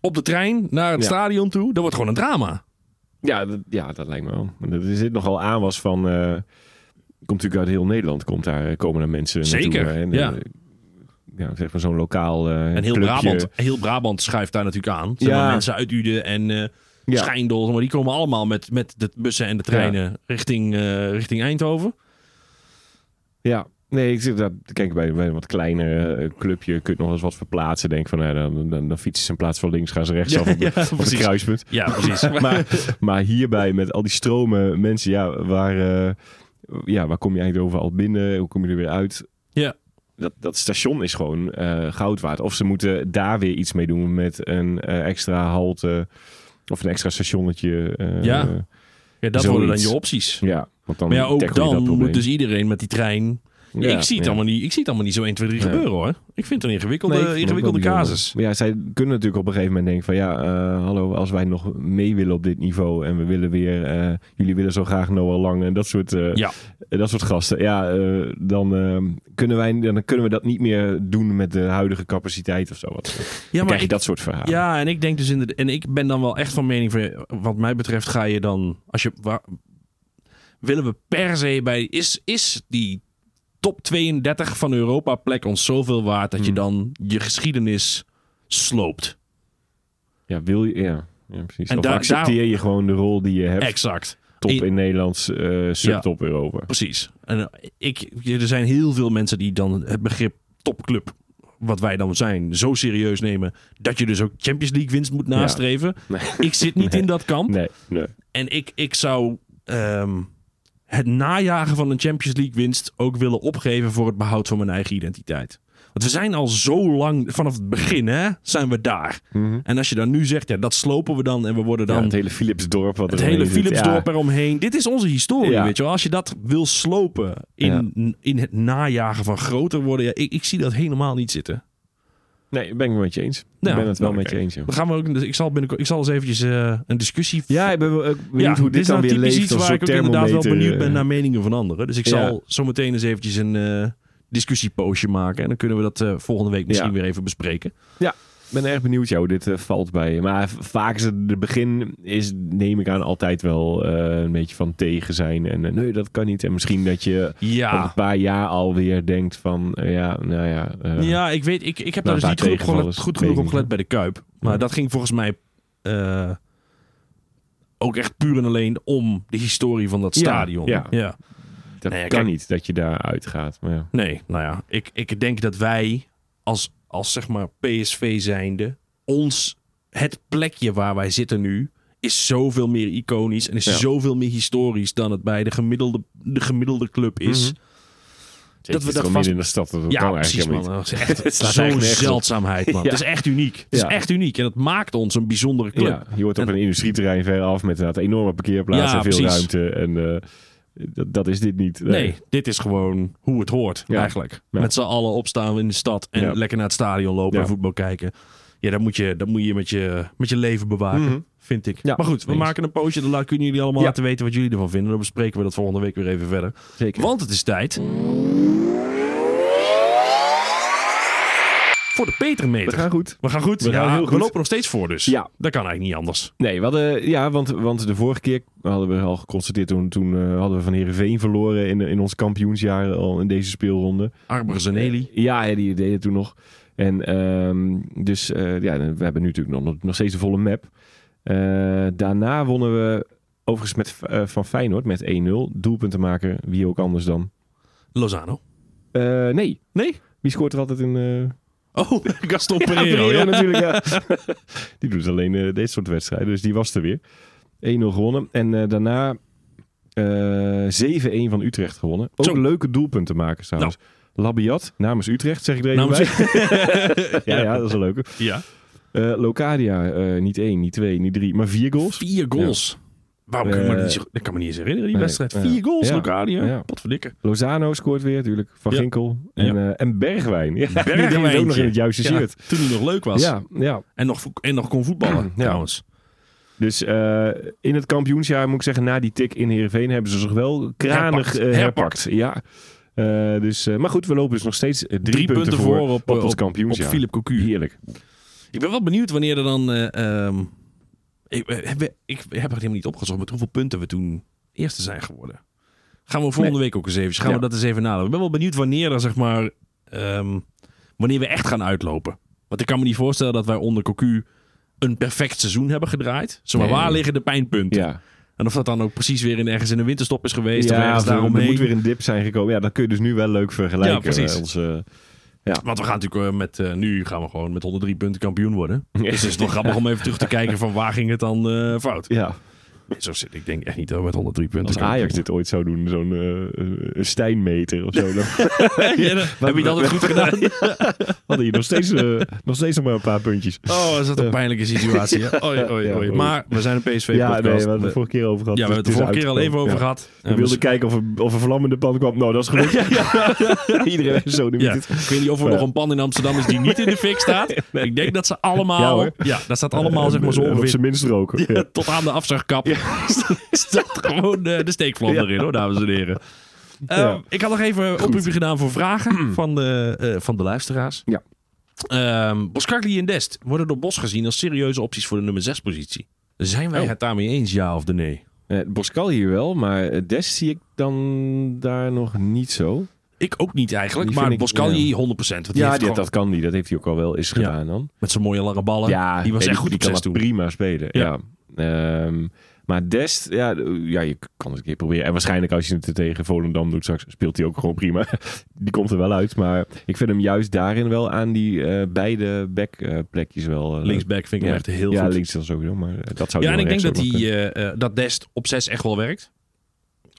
Speaker 1: Op de trein naar het
Speaker 5: Ja.
Speaker 1: stadion toe. Dat wordt gewoon een drama.
Speaker 5: Ja, dat, ja, dat lijkt me wel. Maar Er zit nogal aanwas van... eh, komt natuurlijk uit heel Nederland. Komt daar, eh, komen daar mensen
Speaker 1: Zeker,
Speaker 5: naartoe. hè. En,
Speaker 1: ja.
Speaker 5: eh, ja, zeg maar zo'n lokaal eh
Speaker 1: En heel
Speaker 5: clubje.
Speaker 1: Brabant, heel Brabant schuift daar natuurlijk aan. Zeg
Speaker 5: Ja.
Speaker 1: maar, mensen uit Uden en eh
Speaker 5: Ja.
Speaker 1: Schijndel. zeg Maar die komen allemaal met, met de bussen en de treinen richting, eh, richting Eindhoven.
Speaker 5: Ja, nee, ik zit daar. Kijk, bij, bij een wat kleiner eh, clubje kun je nog wel eens wat verplaatsen. Denk van, nou, dan, dan, dan fietsen ze in plaats van links, gaan ze rechtsaf
Speaker 1: Ja,
Speaker 5: op, de-
Speaker 1: ja,
Speaker 5: op het
Speaker 1: precies.
Speaker 5: kruispunt.
Speaker 1: Ja, precies.
Speaker 5: maar, maar hierbij met al die stromen mensen, ja, waar, eh, ja, waar kom je eigenlijk over al binnen? Hoe kom je er weer uit?
Speaker 1: (laughs) Ja.
Speaker 5: Dat, dat station is gewoon eh, goud waard. Of ze moeten daar weer iets mee doen met een eh, extra halte of een extra stationnetje. eh,
Speaker 1: Ja. Ja, dat worden dan
Speaker 5: Zoiets.
Speaker 1: je opties.
Speaker 5: ja. Want dan
Speaker 1: Maar ja, ook
Speaker 5: tackle je
Speaker 1: dan
Speaker 5: dat
Speaker 1: moet
Speaker 5: probleem.
Speaker 1: dus iedereen met die trein... Ja,
Speaker 5: Ja,
Speaker 1: ik, zie het
Speaker 5: ja.
Speaker 1: allemaal niet, ik zie het allemaal niet zo 1, 2, 3 gebeuren hoor. Ik vind het een ingewikkelde,
Speaker 5: Nee, ik vind het ook wel
Speaker 1: ingewikkelde
Speaker 5: bijzonder.
Speaker 1: casus.
Speaker 5: Maar ja, zij kunnen natuurlijk op een gegeven moment denken van ja, eh, hallo, als wij nog mee willen op dit niveau en we willen weer, eh, jullie willen zo graag Noah Lang en dat soort, eh,
Speaker 1: Ja.
Speaker 5: en dat soort gasten. Ja, eh, dan, eh, kunnen wij, dan kunnen we dat niet meer doen met de huidige capaciteit of zo. Wat. Dan
Speaker 1: Ja,
Speaker 5: krijg
Speaker 1: maar
Speaker 5: je
Speaker 1: ik,
Speaker 5: dat soort verhalen.
Speaker 1: ja, en ik denk dus in de, En ik ben dan wel echt van mening van... Wat mij betreft ga je dan... Als je, waar, willen we per se bij... Is, is die top 32 van Europa plek ons zoveel waard...
Speaker 5: Hmm.
Speaker 1: dat je dan je geschiedenis sloopt?
Speaker 5: Ja, wil je, ja. Ja, precies.
Speaker 1: En
Speaker 5: Of
Speaker 1: daar-
Speaker 5: accepteer je gewoon de rol die je hebt.
Speaker 1: Exact.
Speaker 5: top
Speaker 1: En-
Speaker 5: in Nederland, eh, subtop Europa.
Speaker 1: Precies. En eh, ik, er zijn heel veel mensen die dan het begrip topclub, wat wij dan zijn, zo serieus nemen. dat je dus ook Champions League winst moet nastreven.
Speaker 5: Nee.
Speaker 1: Ik zit niet in dat kamp.
Speaker 5: Nee, nee.
Speaker 1: En ik, ik zou. ehm, het najagen van een Champions League winst ook willen opgeven voor het behoud van mijn eigen identiteit. Want we zijn al zo lang, vanaf het begin hè, zijn we daar. En als je dan nu zegt, ja, dat slopen we dan en we worden dan
Speaker 5: Mhm. Ja, het
Speaker 1: het,
Speaker 5: hele Philipsdorp. Wat er
Speaker 1: hele
Speaker 5: omheen zit.
Speaker 1: Philipsdorp
Speaker 5: Ja.
Speaker 1: eromheen. Dit is onze historie,
Speaker 5: Ja.
Speaker 1: weet je wel. Als je dat wil slopen in, in het najagen van groter worden, ja, ik, ik zie dat helemaal niet zitten.
Speaker 5: Nee, ben ik wel met je eens.
Speaker 1: Nou,
Speaker 5: ik ben het wel
Speaker 1: nou,
Speaker 5: met
Speaker 1: oké.
Speaker 5: je eens. Ja,
Speaker 1: Dan gaan we ook, dus ik zal binnenkort, ik zal eens eventjes eh, een discussie
Speaker 5: ja ik ben wel ook benieuwd
Speaker 1: ja,
Speaker 5: hoe dit,
Speaker 1: is
Speaker 5: dan
Speaker 1: nou
Speaker 5: weer
Speaker 1: typisch
Speaker 5: leeft.
Speaker 1: iets
Speaker 5: als
Speaker 1: waar
Speaker 5: zo'n
Speaker 1: ik ook inderdaad wel
Speaker 5: thermometer,
Speaker 1: benieuwd
Speaker 5: eh,
Speaker 1: ben naar meningen van anderen. Dus ik
Speaker 5: Ja.
Speaker 1: zal zo meteen eens eventjes een eh, discussiepoosje maken. En dan kunnen we dat eh, volgende week misschien
Speaker 5: Ja.
Speaker 1: weer even bespreken.
Speaker 5: eh. Ik ben erg benieuwd jou dit eh, valt bij. Maar v- vaak is het de begin is neem ik aan altijd wel eh, een beetje van tegen zijn en eh, nee dat kan niet en misschien dat je over een
Speaker 1: Ja,
Speaker 5: paar jaar alweer denkt van eh, ja nou ja. eh,
Speaker 1: ja ik weet, ik, ik heb
Speaker 5: Nou,
Speaker 1: daar
Speaker 5: daar
Speaker 1: dus niet goed, op
Speaker 5: tegenvallers,
Speaker 1: gelet- goed
Speaker 5: weet
Speaker 1: genoeg
Speaker 5: ik
Speaker 1: op
Speaker 5: niet.
Speaker 1: gelet bij de Kuip. Maar
Speaker 5: Ja.
Speaker 1: dat ging volgens mij eh, ook echt puur en alleen om de historie van dat
Speaker 5: Ja,
Speaker 1: stadion.
Speaker 5: ja.
Speaker 1: Nou ja.
Speaker 5: Dat
Speaker 1: Nee,
Speaker 5: kan
Speaker 1: kijk-
Speaker 5: niet dat je daar uitgaat. Maar ja.
Speaker 1: Nee, nou ja, ik, ik denk dat wij als, als zeg maar PSV zijnde, ons, het plekje waar wij zitten nu, is zoveel meer iconisch en is
Speaker 5: Ja.
Speaker 1: zoveel meer historisch dan het bij de gemiddelde, de gemiddelde club is.
Speaker 5: Mhm. dat
Speaker 1: we
Speaker 5: we
Speaker 1: dat
Speaker 5: dat
Speaker 1: vast-
Speaker 5: in de stad dat
Speaker 1: Ja,
Speaker 5: kan
Speaker 1: precies
Speaker 5: eigenlijk
Speaker 1: man.
Speaker 5: helemaal
Speaker 1: Dat is
Speaker 5: (laughs)
Speaker 1: echt- Het is
Speaker 5: slaat
Speaker 1: zo'n
Speaker 5: eigenlijk nergens op.
Speaker 1: zeldzaamheid (laughs) man.
Speaker 5: Ja.
Speaker 1: Het is echt uniek. Het is
Speaker 5: Ja.
Speaker 1: echt uniek en dat maakt ons een bijzondere
Speaker 5: niet.
Speaker 1: club.
Speaker 5: Ja, je wordt op een industrieterrein ver af met inderdaad enorme parkeerplaatsen
Speaker 1: Ja,
Speaker 5: en veel
Speaker 1: precies.
Speaker 5: ruimte en eh, dat, dat is dit niet.
Speaker 1: Nee. dit is gewoon hoe het hoort
Speaker 5: Ja.
Speaker 1: eigenlijk.
Speaker 5: Ja.
Speaker 1: Met z'n allen opstaan in de stad en
Speaker 5: Ja.
Speaker 1: lekker naar het stadion lopen
Speaker 5: Ja.
Speaker 1: en voetbal kijken. Ja, dat moet je, dat moet je, met, je met je leven bewaken,
Speaker 5: Mhm.
Speaker 1: vind ik.
Speaker 5: Ja,
Speaker 1: maar goed, we
Speaker 5: eens.
Speaker 1: maken een poosje. Dan laat- kunnen jullie allemaal
Speaker 5: Ja.
Speaker 1: laten weten wat jullie ervan vinden. Dan bespreken we dat volgende week weer even verder.
Speaker 5: Zeker.
Speaker 1: Want het is tijd... Voor de
Speaker 5: We
Speaker 1: Petermeter.
Speaker 5: gaan goed.
Speaker 1: We gaan goed.
Speaker 5: We gaan
Speaker 1: ja,
Speaker 5: heel
Speaker 1: we
Speaker 5: goed.
Speaker 1: lopen nog steeds voor dus.
Speaker 5: Ja.
Speaker 1: Dat kan eigenlijk niet anders.
Speaker 5: Nee, we hadden, ja, want, want de vorige keer hadden we al geconstateerd. Toen, toen eh, hadden we van Herenveen verloren in, in ons kampioensjaar al in deze speelronde.
Speaker 1: Arber Zanelli.
Speaker 5: Ja, hè, die deden toen nog. En ehm, dus eh, ja, we hebben nu natuurlijk nog, nog steeds de volle map. Eh, daarna wonnen we overigens met, eh, van Feyenoord met 1-0. Doelpunten maken, wie ook anders dan.
Speaker 1: Lozano.
Speaker 5: Eh, nee,
Speaker 1: Nee?
Speaker 5: wie scoort er altijd in... eh,
Speaker 1: Oh, (laughs) Gaston Pereiro.
Speaker 5: Pereiro
Speaker 1: ja.
Speaker 5: natuurlijk, ja. (laughs) die doet alleen eh deze soort wedstrijden. Dus die was er weer. 1-0 gewonnen. En eh, daarna eh 7-1 van Utrecht gewonnen. Ook
Speaker 1: Zo. Nou.
Speaker 5: leuke doelpunten maken trouwens. Labiat namens Utrecht, zeg ik er even
Speaker 1: Namens-
Speaker 5: bij. (laughs) ja, ja, dat is een leuke.
Speaker 1: ja.
Speaker 5: Eh, Locadia, eh, niet 1, niet 2, niet 3, maar 4 goals.
Speaker 1: Vier goals. Waarom kan ik, me
Speaker 5: Eh,
Speaker 1: niet zo- dat kan me niet eens herinneren, die
Speaker 5: nee,
Speaker 1: wedstrijd.
Speaker 5: ja.
Speaker 1: Vier goals,
Speaker 5: Ja,
Speaker 1: Locadia.
Speaker 5: (laughs) ja.
Speaker 1: Potverdikke.
Speaker 5: Lozano scoort weer natuurlijk. Van
Speaker 1: Ja.
Speaker 5: Ginkel. En, eh, en Bergwijn. Ja, die deed het ook nog
Speaker 1: Bergwijntje.
Speaker 5: in het juiste
Speaker 1: Ja,
Speaker 5: shirt.
Speaker 1: toen hij nog leuk was.
Speaker 5: Ja, ja.
Speaker 1: En, nog, vo- en nog kon voetballen,
Speaker 5: Ja.
Speaker 1: trouwens.
Speaker 5: Dus eh, in het kampioensjaar moet ik zeggen, na die tik in Heerenveen hebben ze zich wel kranig
Speaker 1: Herpakt.
Speaker 5: eh, herpakt. Ja. Eh, dus, eh, maar goed, we lopen dus nog steeds eh, drie, punten, voor op,
Speaker 1: eh,
Speaker 5: ons
Speaker 1: op- Op
Speaker 5: kampioensjaar.
Speaker 1: Philip Cocu.
Speaker 5: Heerlijk.
Speaker 1: Ik ben wel benieuwd wanneer er dan... eh, ehm, ik, eh, heb, ik heb het helemaal niet opgezocht met hoeveel punten we toen eerste zijn geworden. Gaan we volgende week ook eens even. Gaan
Speaker 5: Ja.
Speaker 1: we dat eens even nadenken. Ik ben wel benieuwd wanneer er zeg maar... ehm, wanneer we echt gaan uitlopen. Want ik kan me niet voorstellen dat wij onder Cocu een perfect seizoen hebben gedraaid. Zomaar
Speaker 5: Nee.
Speaker 1: waar liggen de pijnpunten?
Speaker 5: Ja,
Speaker 1: En of dat dan ook precies weer in ergens in de winterstop is geweest of
Speaker 5: ja
Speaker 1: ergens
Speaker 5: of er, er
Speaker 1: daaromheen.
Speaker 5: moet weer een dip zijn gekomen. Ja, dat kun je dus nu wel leuk vergelijken.
Speaker 1: Ja, precies.
Speaker 5: eh, Ons, eh,
Speaker 1: Want we gaan natuurlijk eh, met, eh, nu gaan we gewoon met 103 punten kampioen worden. Dus het is nog grappig om even terug te kijken van waar ging het dan eh, fout.
Speaker 5: ja,
Speaker 1: Nee, zo zit ik denk echt niet dat we met 103 punten
Speaker 5: als Ajax dit ooit zou doen, zo'n eh, eh, Stijnmeter of zo,
Speaker 1: (laughs)
Speaker 5: dan (laughs)
Speaker 1: (laughs) Ja, dan- heb je dat het goed gedaan?
Speaker 5: hadden je nog steeds, eh, nog steeds nog maar een paar puntjes.
Speaker 1: Oh, is dat een pijnlijke situatie. hè? Oei, oei,
Speaker 5: (laughs) Ja,
Speaker 1: oei.
Speaker 5: oei.
Speaker 1: Maar we zijn een PSV-podcast.
Speaker 5: ja, nee, we
Speaker 1: we
Speaker 5: hebben het de vorige keer over gehad.
Speaker 1: ja, we hebben het de
Speaker 5: dus
Speaker 1: vorige
Speaker 5: is
Speaker 1: keer al even
Speaker 5: uitgekomen.
Speaker 1: over
Speaker 5: Ja.
Speaker 1: gehad.
Speaker 5: We (laughs) wilden kijken of er, of er vlammende pan kwam. Nou, dat is (laughs) gelukt. (laughs) Iedereen heeft zo de
Speaker 1: Ja,
Speaker 5: ja.
Speaker 1: ik weet niet of er nog een pan in Amsterdam is die niet in de fik
Speaker 5: (laughs)
Speaker 1: staat. Ik denk dat ze
Speaker 5: Ja,
Speaker 1: allemaal... Ja,
Speaker 5: hoor. Eh,
Speaker 1: dat staat allemaal zeg maar zo
Speaker 5: Op
Speaker 1: ongeveer
Speaker 5: zijn minst roken. Ja.
Speaker 1: tot aan de afzuigkap. (laughs) staat gewoon eh, de steekvlam
Speaker 5: Ja.
Speaker 1: erin, hoor, dames en heren. Eh,
Speaker 5: Ja. Mm.
Speaker 1: Ik had nog even een oproepje gedaan voor vragen van de, eh, van de luisteraars.
Speaker 5: Ja.
Speaker 1: Ehm, Boskakli en Dest worden door Bos gezien als serieuze opties voor de nummer 6 positie. Zijn wij
Speaker 5: Oh.
Speaker 1: het daarmee eens, ja of de nee?
Speaker 5: Eh, Boskal hier wel, maar eh, Des zie ik dan daar nog niet zo.
Speaker 1: Ik ook niet eigenlijk,
Speaker 5: Die
Speaker 1: maar
Speaker 5: vind ik-
Speaker 1: Boskakli
Speaker 5: ja.
Speaker 1: 100%. Want die
Speaker 5: Ja,
Speaker 1: heeft
Speaker 5: die,
Speaker 1: gewoon-
Speaker 5: dat kan niet. Dat heeft hij ook al wel eens gedaan dan.
Speaker 1: met zijn mooie lange ballen.
Speaker 5: Ja,
Speaker 1: die was
Speaker 5: nee,
Speaker 1: echt goed
Speaker 5: die
Speaker 1: op
Speaker 5: kan
Speaker 1: zes
Speaker 5: dat
Speaker 1: toen.
Speaker 5: prima spelen.
Speaker 1: Ja.
Speaker 5: Ja. Ehm, maar Dest, ja, eh, ja, je kan het een keer proberen. En waarschijnlijk als je het tegen Volendam doet straks, speelt hij ook gewoon prima. (laughs) die komt er wel uit. Maar ik vind hem juist daarin wel aan die eh, beide backplekjes wel. eh,
Speaker 1: Linksback vind ik hem echt heel
Speaker 5: ja,
Speaker 1: goed.
Speaker 5: links dan sowieso, maar eh, dat zou
Speaker 1: Ja,
Speaker 5: hij
Speaker 1: en ik
Speaker 5: wel
Speaker 1: denk
Speaker 5: rechts
Speaker 1: dat,
Speaker 5: ook
Speaker 1: die,
Speaker 5: nog
Speaker 1: eh, eh, dat Dest op 6 echt wel werkt.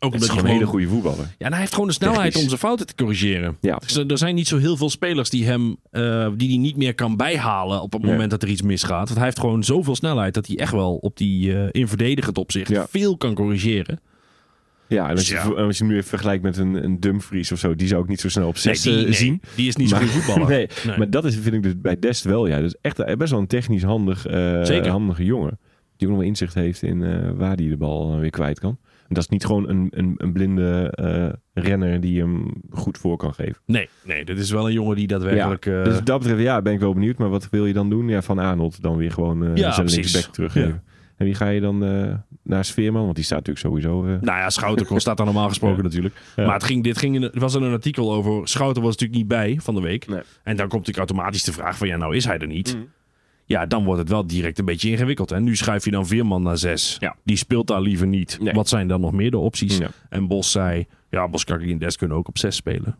Speaker 1: Ook
Speaker 5: Dat
Speaker 1: omdat
Speaker 5: is
Speaker 1: hij
Speaker 5: gewoon een hele goede voetballer.
Speaker 1: Ja, en hij heeft gewoon de snelheid
Speaker 5: Technisch.
Speaker 1: om zijn fouten te corrigeren.
Speaker 5: Ja.
Speaker 1: Dus er er zijn niet zo heel veel spelers die hem eh, die hij niet meer kan bijhalen op het
Speaker 5: Nee.
Speaker 1: moment dat er iets misgaat. Want hij heeft gewoon zoveel snelheid dat hij echt wel op die eh, in verdedigend opzicht
Speaker 5: Ja.
Speaker 1: veel kan corrigeren.
Speaker 5: Ja, en als,
Speaker 1: Ja.
Speaker 5: Je, en als je hem nu even vergelijkt met een, een Dumfries of zo, die zou ik niet zo snel op zes
Speaker 1: die,
Speaker 5: eh, zien.
Speaker 1: die is niet zo'n
Speaker 5: Maar-
Speaker 1: goede voetballer.
Speaker 5: (laughs) Nee,
Speaker 1: (laughs) Nee.
Speaker 5: maar dat is, vind ik dus bij Dest wel. Ja, dat is echt eh, best wel een technisch handig, eh,
Speaker 1: Zeker.
Speaker 5: handige jongen. Die ook nog wel inzicht heeft in eh, waar hij de bal eh, weer kwijt kan. En dat is niet gewoon een, een, een blinde eh, renner die hem goed voor kan geven.
Speaker 1: Nee, nee, dit is wel een jongen die daadwerkelijk. eh,
Speaker 5: ja. Dus wat dat betreft, ja, ben ik wel benieuwd. Maar wat wil je dan doen? Ja, van Arnold dan weer gewoon eh
Speaker 1: Ja,
Speaker 5: zijn
Speaker 1: precies.
Speaker 5: linksback teruggeven. En wie ga je dan eh, naar Sfeerman? Want die staat natuurlijk sowieso... eh,
Speaker 1: Nou (laughs) ja, Schouten staat daar normaal gesproken
Speaker 5: Ja.
Speaker 1: natuurlijk.
Speaker 5: Ja.
Speaker 1: Maar het ging, dit ging, in- er was er een artikel over. Schouten was natuurlijk niet bij van de week.
Speaker 5: Nee.
Speaker 1: En dan komt natuurlijk automatisch de vraag van ja, nou is hij er niet.
Speaker 5: Mm.
Speaker 1: Ja, dan wordt het wel direct een beetje ingewikkeld. En nu schuif je dan Veerman naar zes.
Speaker 5: Ja.
Speaker 1: Die speelt daar liever niet.
Speaker 5: Nee.
Speaker 1: Wat zijn dan nog meer de opties?
Speaker 5: Ja.
Speaker 1: En Bos zei, ja, Boskakli en Des kunnen ook op zes spelen.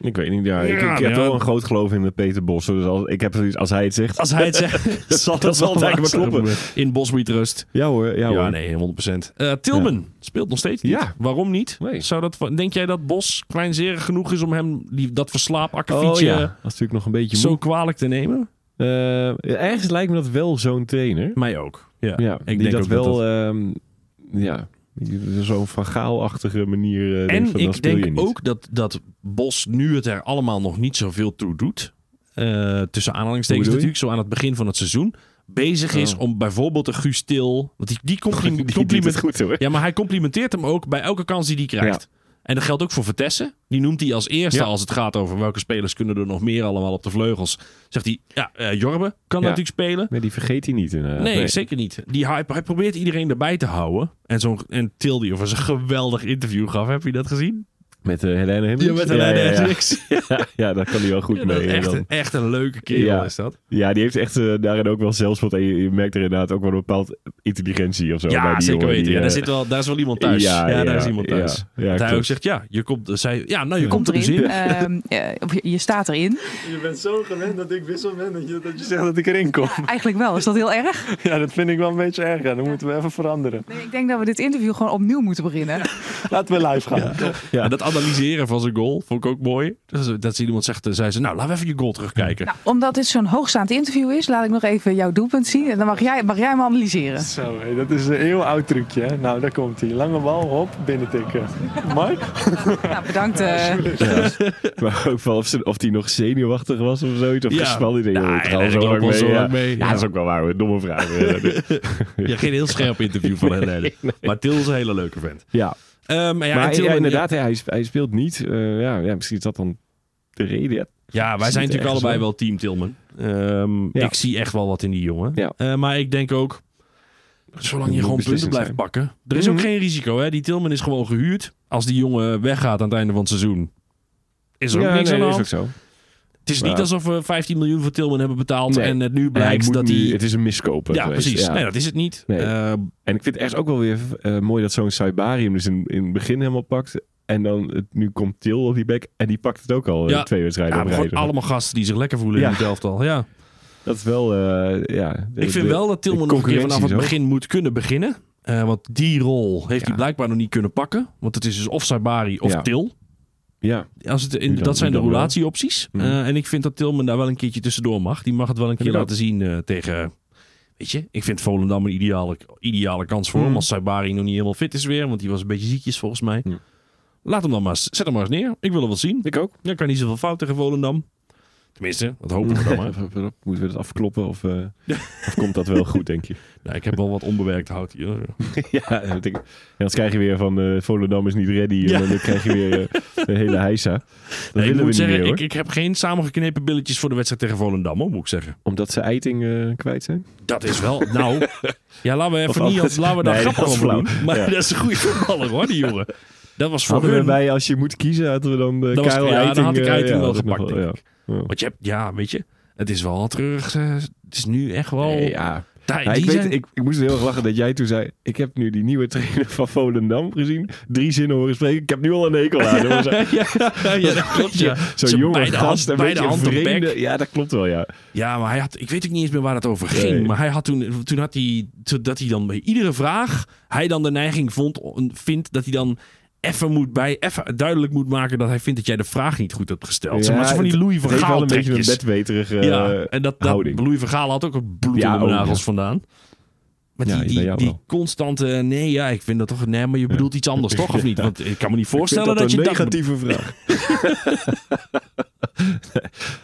Speaker 5: Ik weet niet, ja. ik,
Speaker 1: Ja,
Speaker 5: ik heb
Speaker 1: ja.
Speaker 5: wel een groot geloof in de Peter Bos. Dus als, ik heb zoiets, als hij het zegt,
Speaker 1: Als hij het zegt, zal
Speaker 5: dat zal het eigenlijk wel kloppen.
Speaker 1: In Bos We Trust.
Speaker 5: (laughs) Ja hoor, ja,
Speaker 1: Ja,
Speaker 5: hoor.
Speaker 1: nee, 100%. Eh Tilman speelt nog steeds niet.
Speaker 5: Ja.
Speaker 1: Waarom niet?
Speaker 5: Nee.
Speaker 1: Zou dat, denk jij dat Bos kleinzerig genoeg is om hem die, dat verslaapakkefietje
Speaker 5: Oh ja, dat is natuurlijk nog een beetje
Speaker 1: zo
Speaker 5: moe.
Speaker 1: kwalijk te nemen?
Speaker 5: Eh, ergens lijkt me dat wel zo'n trainer.
Speaker 1: Mij ook. Ja,
Speaker 5: Ja,
Speaker 1: ik
Speaker 5: die
Speaker 1: denk
Speaker 5: dat
Speaker 1: ook
Speaker 5: wel,
Speaker 1: dat-
Speaker 5: ehm, ja, die- zo'n vagaalachtige manier. eh, denkt
Speaker 1: en
Speaker 5: van, dan
Speaker 1: ik
Speaker 5: speel je
Speaker 1: denk
Speaker 5: niet.
Speaker 1: ook dat, dat Bos nu het er allemaal nog niet zoveel toe doet. eh, tussen
Speaker 5: Hoe bedoel
Speaker 1: aanhalingstekens
Speaker 5: je?
Speaker 1: natuurlijk, zo aan het begin van het seizoen. Bezig is
Speaker 5: Oh.
Speaker 1: om bijvoorbeeld een Guus Til. Want die, die, compli-
Speaker 5: (laughs) (laughs) Die doet
Speaker 1: compliment-
Speaker 5: het goed hoor.
Speaker 1: Ja, maar hij complimenteert hem ook bij elke kans die hij krijgt. En dat geldt ook voor Vertessen. Die noemt hij als eerste
Speaker 5: Ja.
Speaker 1: als het gaat over welke spelers kunnen er nog meer allemaal op de vleugels. Zegt hij, ja, eh, Jorbe kan
Speaker 5: Ja.
Speaker 1: natuurlijk spelen.
Speaker 5: Maar die vergeet hij niet inderdaad.
Speaker 1: Nee, zeker niet. Die, hij, hij probeert iedereen erbij te houden. En, zo'n en Til die over een geweldig interview gaf. Heb je dat gezien?
Speaker 5: Met eh Helene Hendricks.
Speaker 1: Ja, met Helene
Speaker 5: ja,
Speaker 1: (laughs)
Speaker 5: ja.
Speaker 1: Hendricks.
Speaker 5: Ja, (laughs) ja, daar kan hij wel goed
Speaker 1: Ja, dat
Speaker 5: mee.
Speaker 1: is
Speaker 5: eh,
Speaker 1: echt,
Speaker 5: dan.
Speaker 1: een- echt een leuke kerel
Speaker 5: Ja.
Speaker 1: is dat.
Speaker 5: Ja, die heeft echt eh, daarin ook wel zelfspot. En je, je merkt er inderdaad ook wel een bepaald intelligentie of zo. bij
Speaker 1: ja,
Speaker 5: die
Speaker 1: zeker
Speaker 5: jongen,
Speaker 1: weten.
Speaker 5: die,
Speaker 1: Ja,
Speaker 5: eh,
Speaker 1: daar, zit wel, daar is wel iemand thuis. Ja,
Speaker 5: Ja, ja,
Speaker 1: daar is iemand
Speaker 5: ja.
Speaker 1: thuis.
Speaker 5: Ja,
Speaker 1: dat hij ook
Speaker 5: klopt.
Speaker 1: zegt, ja, je komt, zij, ja, nou, je
Speaker 5: Ja.
Speaker 1: komt er dus
Speaker 7: erin.
Speaker 1: in.
Speaker 7: ehm, eh, of je- je staat erin.
Speaker 8: Je bent zo gewend dat ik wissel ben dat je, dat je zegt dat ik erin kom.
Speaker 7: Eigenlijk wel. Is dat heel erg?
Speaker 8: (laughs) Ja, dat vind ik wel een beetje erg. Ja, dan moeten we even veranderen.
Speaker 7: Nee, ik denk dat we dit interview gewoon opnieuw moeten beginnen.
Speaker 8: Laten we live gaan.
Speaker 5: (laughs) Ja.
Speaker 1: En dat analyseren van zijn goal vond ik ook mooi. Dus dat ze iemand zegt, eh, zei ze, nou, laten we even je goal terugkijken.
Speaker 7: Nou, omdat dit zo'n hoogstaand interview is, laat ik nog even jouw doelpunt zien. En dan mag jij, mag jij hem analyseren.
Speaker 8: Zo, hé, dat is een eeuwenoud trucje. Hè? Nou, daar komt hij. Lange bal, hop, binnentikken. Mike?
Speaker 7: Nou, bedankt. eh.
Speaker 5: (laughs) Maar ook wel of, ze, of die nog zenuwachtig was of zoiets. Of
Speaker 1: Ja.
Speaker 5: gespannen. Ik denk,
Speaker 1: Ja,
Speaker 5: joh, ik ga
Speaker 1: ja,
Speaker 5: al
Speaker 1: ik
Speaker 5: zo
Speaker 1: loop
Speaker 5: lang
Speaker 1: al
Speaker 5: mee.
Speaker 1: zo
Speaker 5: ja.
Speaker 1: lang mee,
Speaker 5: Ja,
Speaker 1: ja.
Speaker 5: dat is ook wel waar. hoor. Domme vraag.
Speaker 1: (laughs)
Speaker 5: eh,
Speaker 1: Ja, geen heel scherp interview
Speaker 5: (laughs)
Speaker 1: van Helene. Maar Til is een hele leuke vent.
Speaker 5: ja.
Speaker 1: Ehm, maar ja, en
Speaker 5: maar
Speaker 1: Til-
Speaker 5: ja, inderdaad, hij, sp- hij speelt niet. Eh, ja, ja, misschien is dat dan de reden. Ja,
Speaker 1: Ja, wij zijn
Speaker 5: Ziet er
Speaker 1: natuurlijk
Speaker 5: ergens
Speaker 1: allebei
Speaker 5: wel.
Speaker 1: wel team Tilman. Ehm,
Speaker 5: Ja.
Speaker 1: Ik zie echt wel wat in die jongen.
Speaker 5: Ja.
Speaker 1: Eh, maar ik denk ook, zolang je gewoon
Speaker 5: moet
Speaker 1: punten
Speaker 5: beslissend
Speaker 1: blijft
Speaker 5: zijn.
Speaker 1: pakken. Er is
Speaker 5: Mhm.
Speaker 1: ook geen risico. Hè? Die Tilman is gewoon gehuurd. Als die jongen weggaat aan het einde van het seizoen, is er
Speaker 5: Ja,
Speaker 1: ook niks
Speaker 5: nee,
Speaker 1: aan de
Speaker 5: is
Speaker 1: hand.
Speaker 5: ook zo.
Speaker 1: Het is niet
Speaker 5: Ja.
Speaker 1: alsof we 15 miljoen voor Tilman hebben betaald.
Speaker 5: Nee.
Speaker 1: En het nu
Speaker 5: En hij
Speaker 1: blijkt
Speaker 5: moet
Speaker 1: dat
Speaker 5: nu-
Speaker 1: hij...
Speaker 5: Het is een miskoper
Speaker 1: Ja,
Speaker 5: geweest,
Speaker 1: precies.
Speaker 5: ja.
Speaker 1: Nee, dat is het niet.
Speaker 5: Nee.
Speaker 1: Eh,
Speaker 5: En ik vind het echt ook wel weer eh, mooi dat zo'n Saibarium dus in, in het begin helemaal pakt. En dan het, nu komt Til op die bek. En die pakt het ook al eh,
Speaker 1: Ja.
Speaker 5: twee wedstrijden
Speaker 1: ja,
Speaker 5: op
Speaker 1: maar
Speaker 5: rij.
Speaker 1: gewoon allemaal gasten die zich lekker voelen
Speaker 5: Ja.
Speaker 1: in het elftal. Ja.
Speaker 5: Dat is wel, eh, ja.
Speaker 1: Ik vind wel dat Tilman nog een keer vanaf het begin moet kunnen beginnen. Eh, want die rol heeft
Speaker 5: Ja.
Speaker 1: hij blijkbaar nog niet kunnen pakken. Want het is dus of Saibari of
Speaker 5: Ja.
Speaker 1: Til.
Speaker 5: Ja,
Speaker 1: Als het in,
Speaker 5: dan-
Speaker 1: dat zijn de
Speaker 5: nu dan wel.
Speaker 1: relatieopties.
Speaker 5: Mhm.
Speaker 1: Eh, en ik vind dat Tilman daar wel een keertje tussendoor mag. Die mag het wel een keer
Speaker 5: ik ook.
Speaker 1: laten zien eh, tegen... Weet je, ik vind Volendam een ideale, ideale kans voor hem.
Speaker 5: Mhm.
Speaker 1: Als Saibari nog niet helemaal fit is weer. Want die was een beetje ziekjes volgens mij.
Speaker 5: Ja.
Speaker 1: Laat hem dan maar eens, zet hem maar eens neer. Ik wil hem wel zien.
Speaker 5: ik ook.
Speaker 1: Dan kan niet zoveel fout tegen Volendam. Tenminste, dat hopen we
Speaker 5: (laughs)
Speaker 1: dan maar.
Speaker 5: Moeten we dat afkloppen of, eh, of komt dat wel goed,
Speaker 1: (laughs)
Speaker 5: denk je?
Speaker 1: Nou, ik heb wel wat onbewerkt hout hier.
Speaker 5: ja, dat denk ik. En anders krijg je weer van eh Volendam is niet ready. En dan krijg je weer eh, een hele
Speaker 1: (laughs)
Speaker 5: heisa. Dat
Speaker 1: Nee,
Speaker 5: willen
Speaker 1: ik
Speaker 5: we
Speaker 1: moet
Speaker 5: niet
Speaker 1: zeggen,
Speaker 5: meer, hoor.
Speaker 1: ik, ik heb geen samengeknepen billetjes voor de wedstrijd tegen Volendam, hoor, moet ik zeggen.
Speaker 5: Omdat ze eiting eh, kwijt zijn.
Speaker 1: Dat is wel, nou... (laughs) Ja, laten we even
Speaker 5: Of
Speaker 1: niet,
Speaker 5: anders.
Speaker 1: laten we daar
Speaker 5: Nee,
Speaker 1: grappig
Speaker 5: dat is
Speaker 1: over
Speaker 5: flauw.
Speaker 1: doen. Maar
Speaker 5: Ja.
Speaker 1: (laughs) dat is een goede voetballer, hoor, die jongen. Dat was voor
Speaker 5: Hadden we
Speaker 1: hun...
Speaker 5: bij, als je moet kiezen, hadden we dan eh
Speaker 1: Dan was-
Speaker 5: Karel
Speaker 1: ja, dan
Speaker 5: Eiting.
Speaker 1: had ik
Speaker 5: eh,
Speaker 1: Eiting
Speaker 5: ja,
Speaker 1: wel
Speaker 5: dat nog
Speaker 1: gepakt,
Speaker 5: wel,
Speaker 1: denk
Speaker 5: ja.
Speaker 1: Want je hebt, ja, weet je, het is wel terug. eh, het is nu echt wel...
Speaker 5: Nee, ja.
Speaker 1: Tij,
Speaker 5: Ja, ik,
Speaker 1: die
Speaker 5: weet,
Speaker 1: zijn-
Speaker 5: ik, ik moest heel erg lachen dat jij toen zei... Ik heb nu die nieuwe trainer van Volendam gezien. Drie zinnen horen spreken. Ik heb nu al een hekel
Speaker 1: (laughs)
Speaker 5: aan. hem." Zo-
Speaker 1: ja, ja, dat
Speaker 5: (laughs)
Speaker 1: klopt. Ja.
Speaker 5: Zo'n
Speaker 1: Zo
Speaker 5: jonge
Speaker 1: beide
Speaker 5: gast.
Speaker 1: hand-
Speaker 5: Een
Speaker 1: beide
Speaker 5: beetje een
Speaker 1: hand op
Speaker 5: vreemde.
Speaker 1: bek.
Speaker 5: Ja, dat klopt wel, ja.
Speaker 1: Ja, maar hij had, ik weet ook niet eens meer waar het over ging.
Speaker 5: Nee.
Speaker 1: Maar hij had toen, toen had hij, to- dat hij dan bij iedere vraag, hij dan de neiging vond, vindt dat hij dan even moet bij, even duidelijk moet maken dat hij vindt dat jij de vraag niet goed hebt gesteld. Zeg
Speaker 5: Ja,
Speaker 1: maar zo van die
Speaker 5: het-
Speaker 1: Louis van
Speaker 5: Het heeft wel
Speaker 1: Gaal
Speaker 5: een beetje een
Speaker 1: trekjes.
Speaker 5: bedweterige
Speaker 1: Ja,
Speaker 5: eh,
Speaker 1: en dat, dat
Speaker 5: houding.
Speaker 1: Louis van Gaal had ook een bloed
Speaker 5: Ja,
Speaker 1: onder de
Speaker 5: ook,
Speaker 1: nagels
Speaker 5: ja.
Speaker 1: vandaan. Maar
Speaker 5: Ja,
Speaker 1: die,
Speaker 5: bij
Speaker 1: die,
Speaker 5: jou
Speaker 1: die
Speaker 5: wel.
Speaker 1: constante, eh, nee, ja, ik vind dat toch, nee, maar je bedoelt iets anders toch, of
Speaker 5: (laughs)
Speaker 1: niet? Want ik kan me niet voorstellen dat, je
Speaker 5: een
Speaker 1: dat...
Speaker 5: negatieve vraag. (laughs)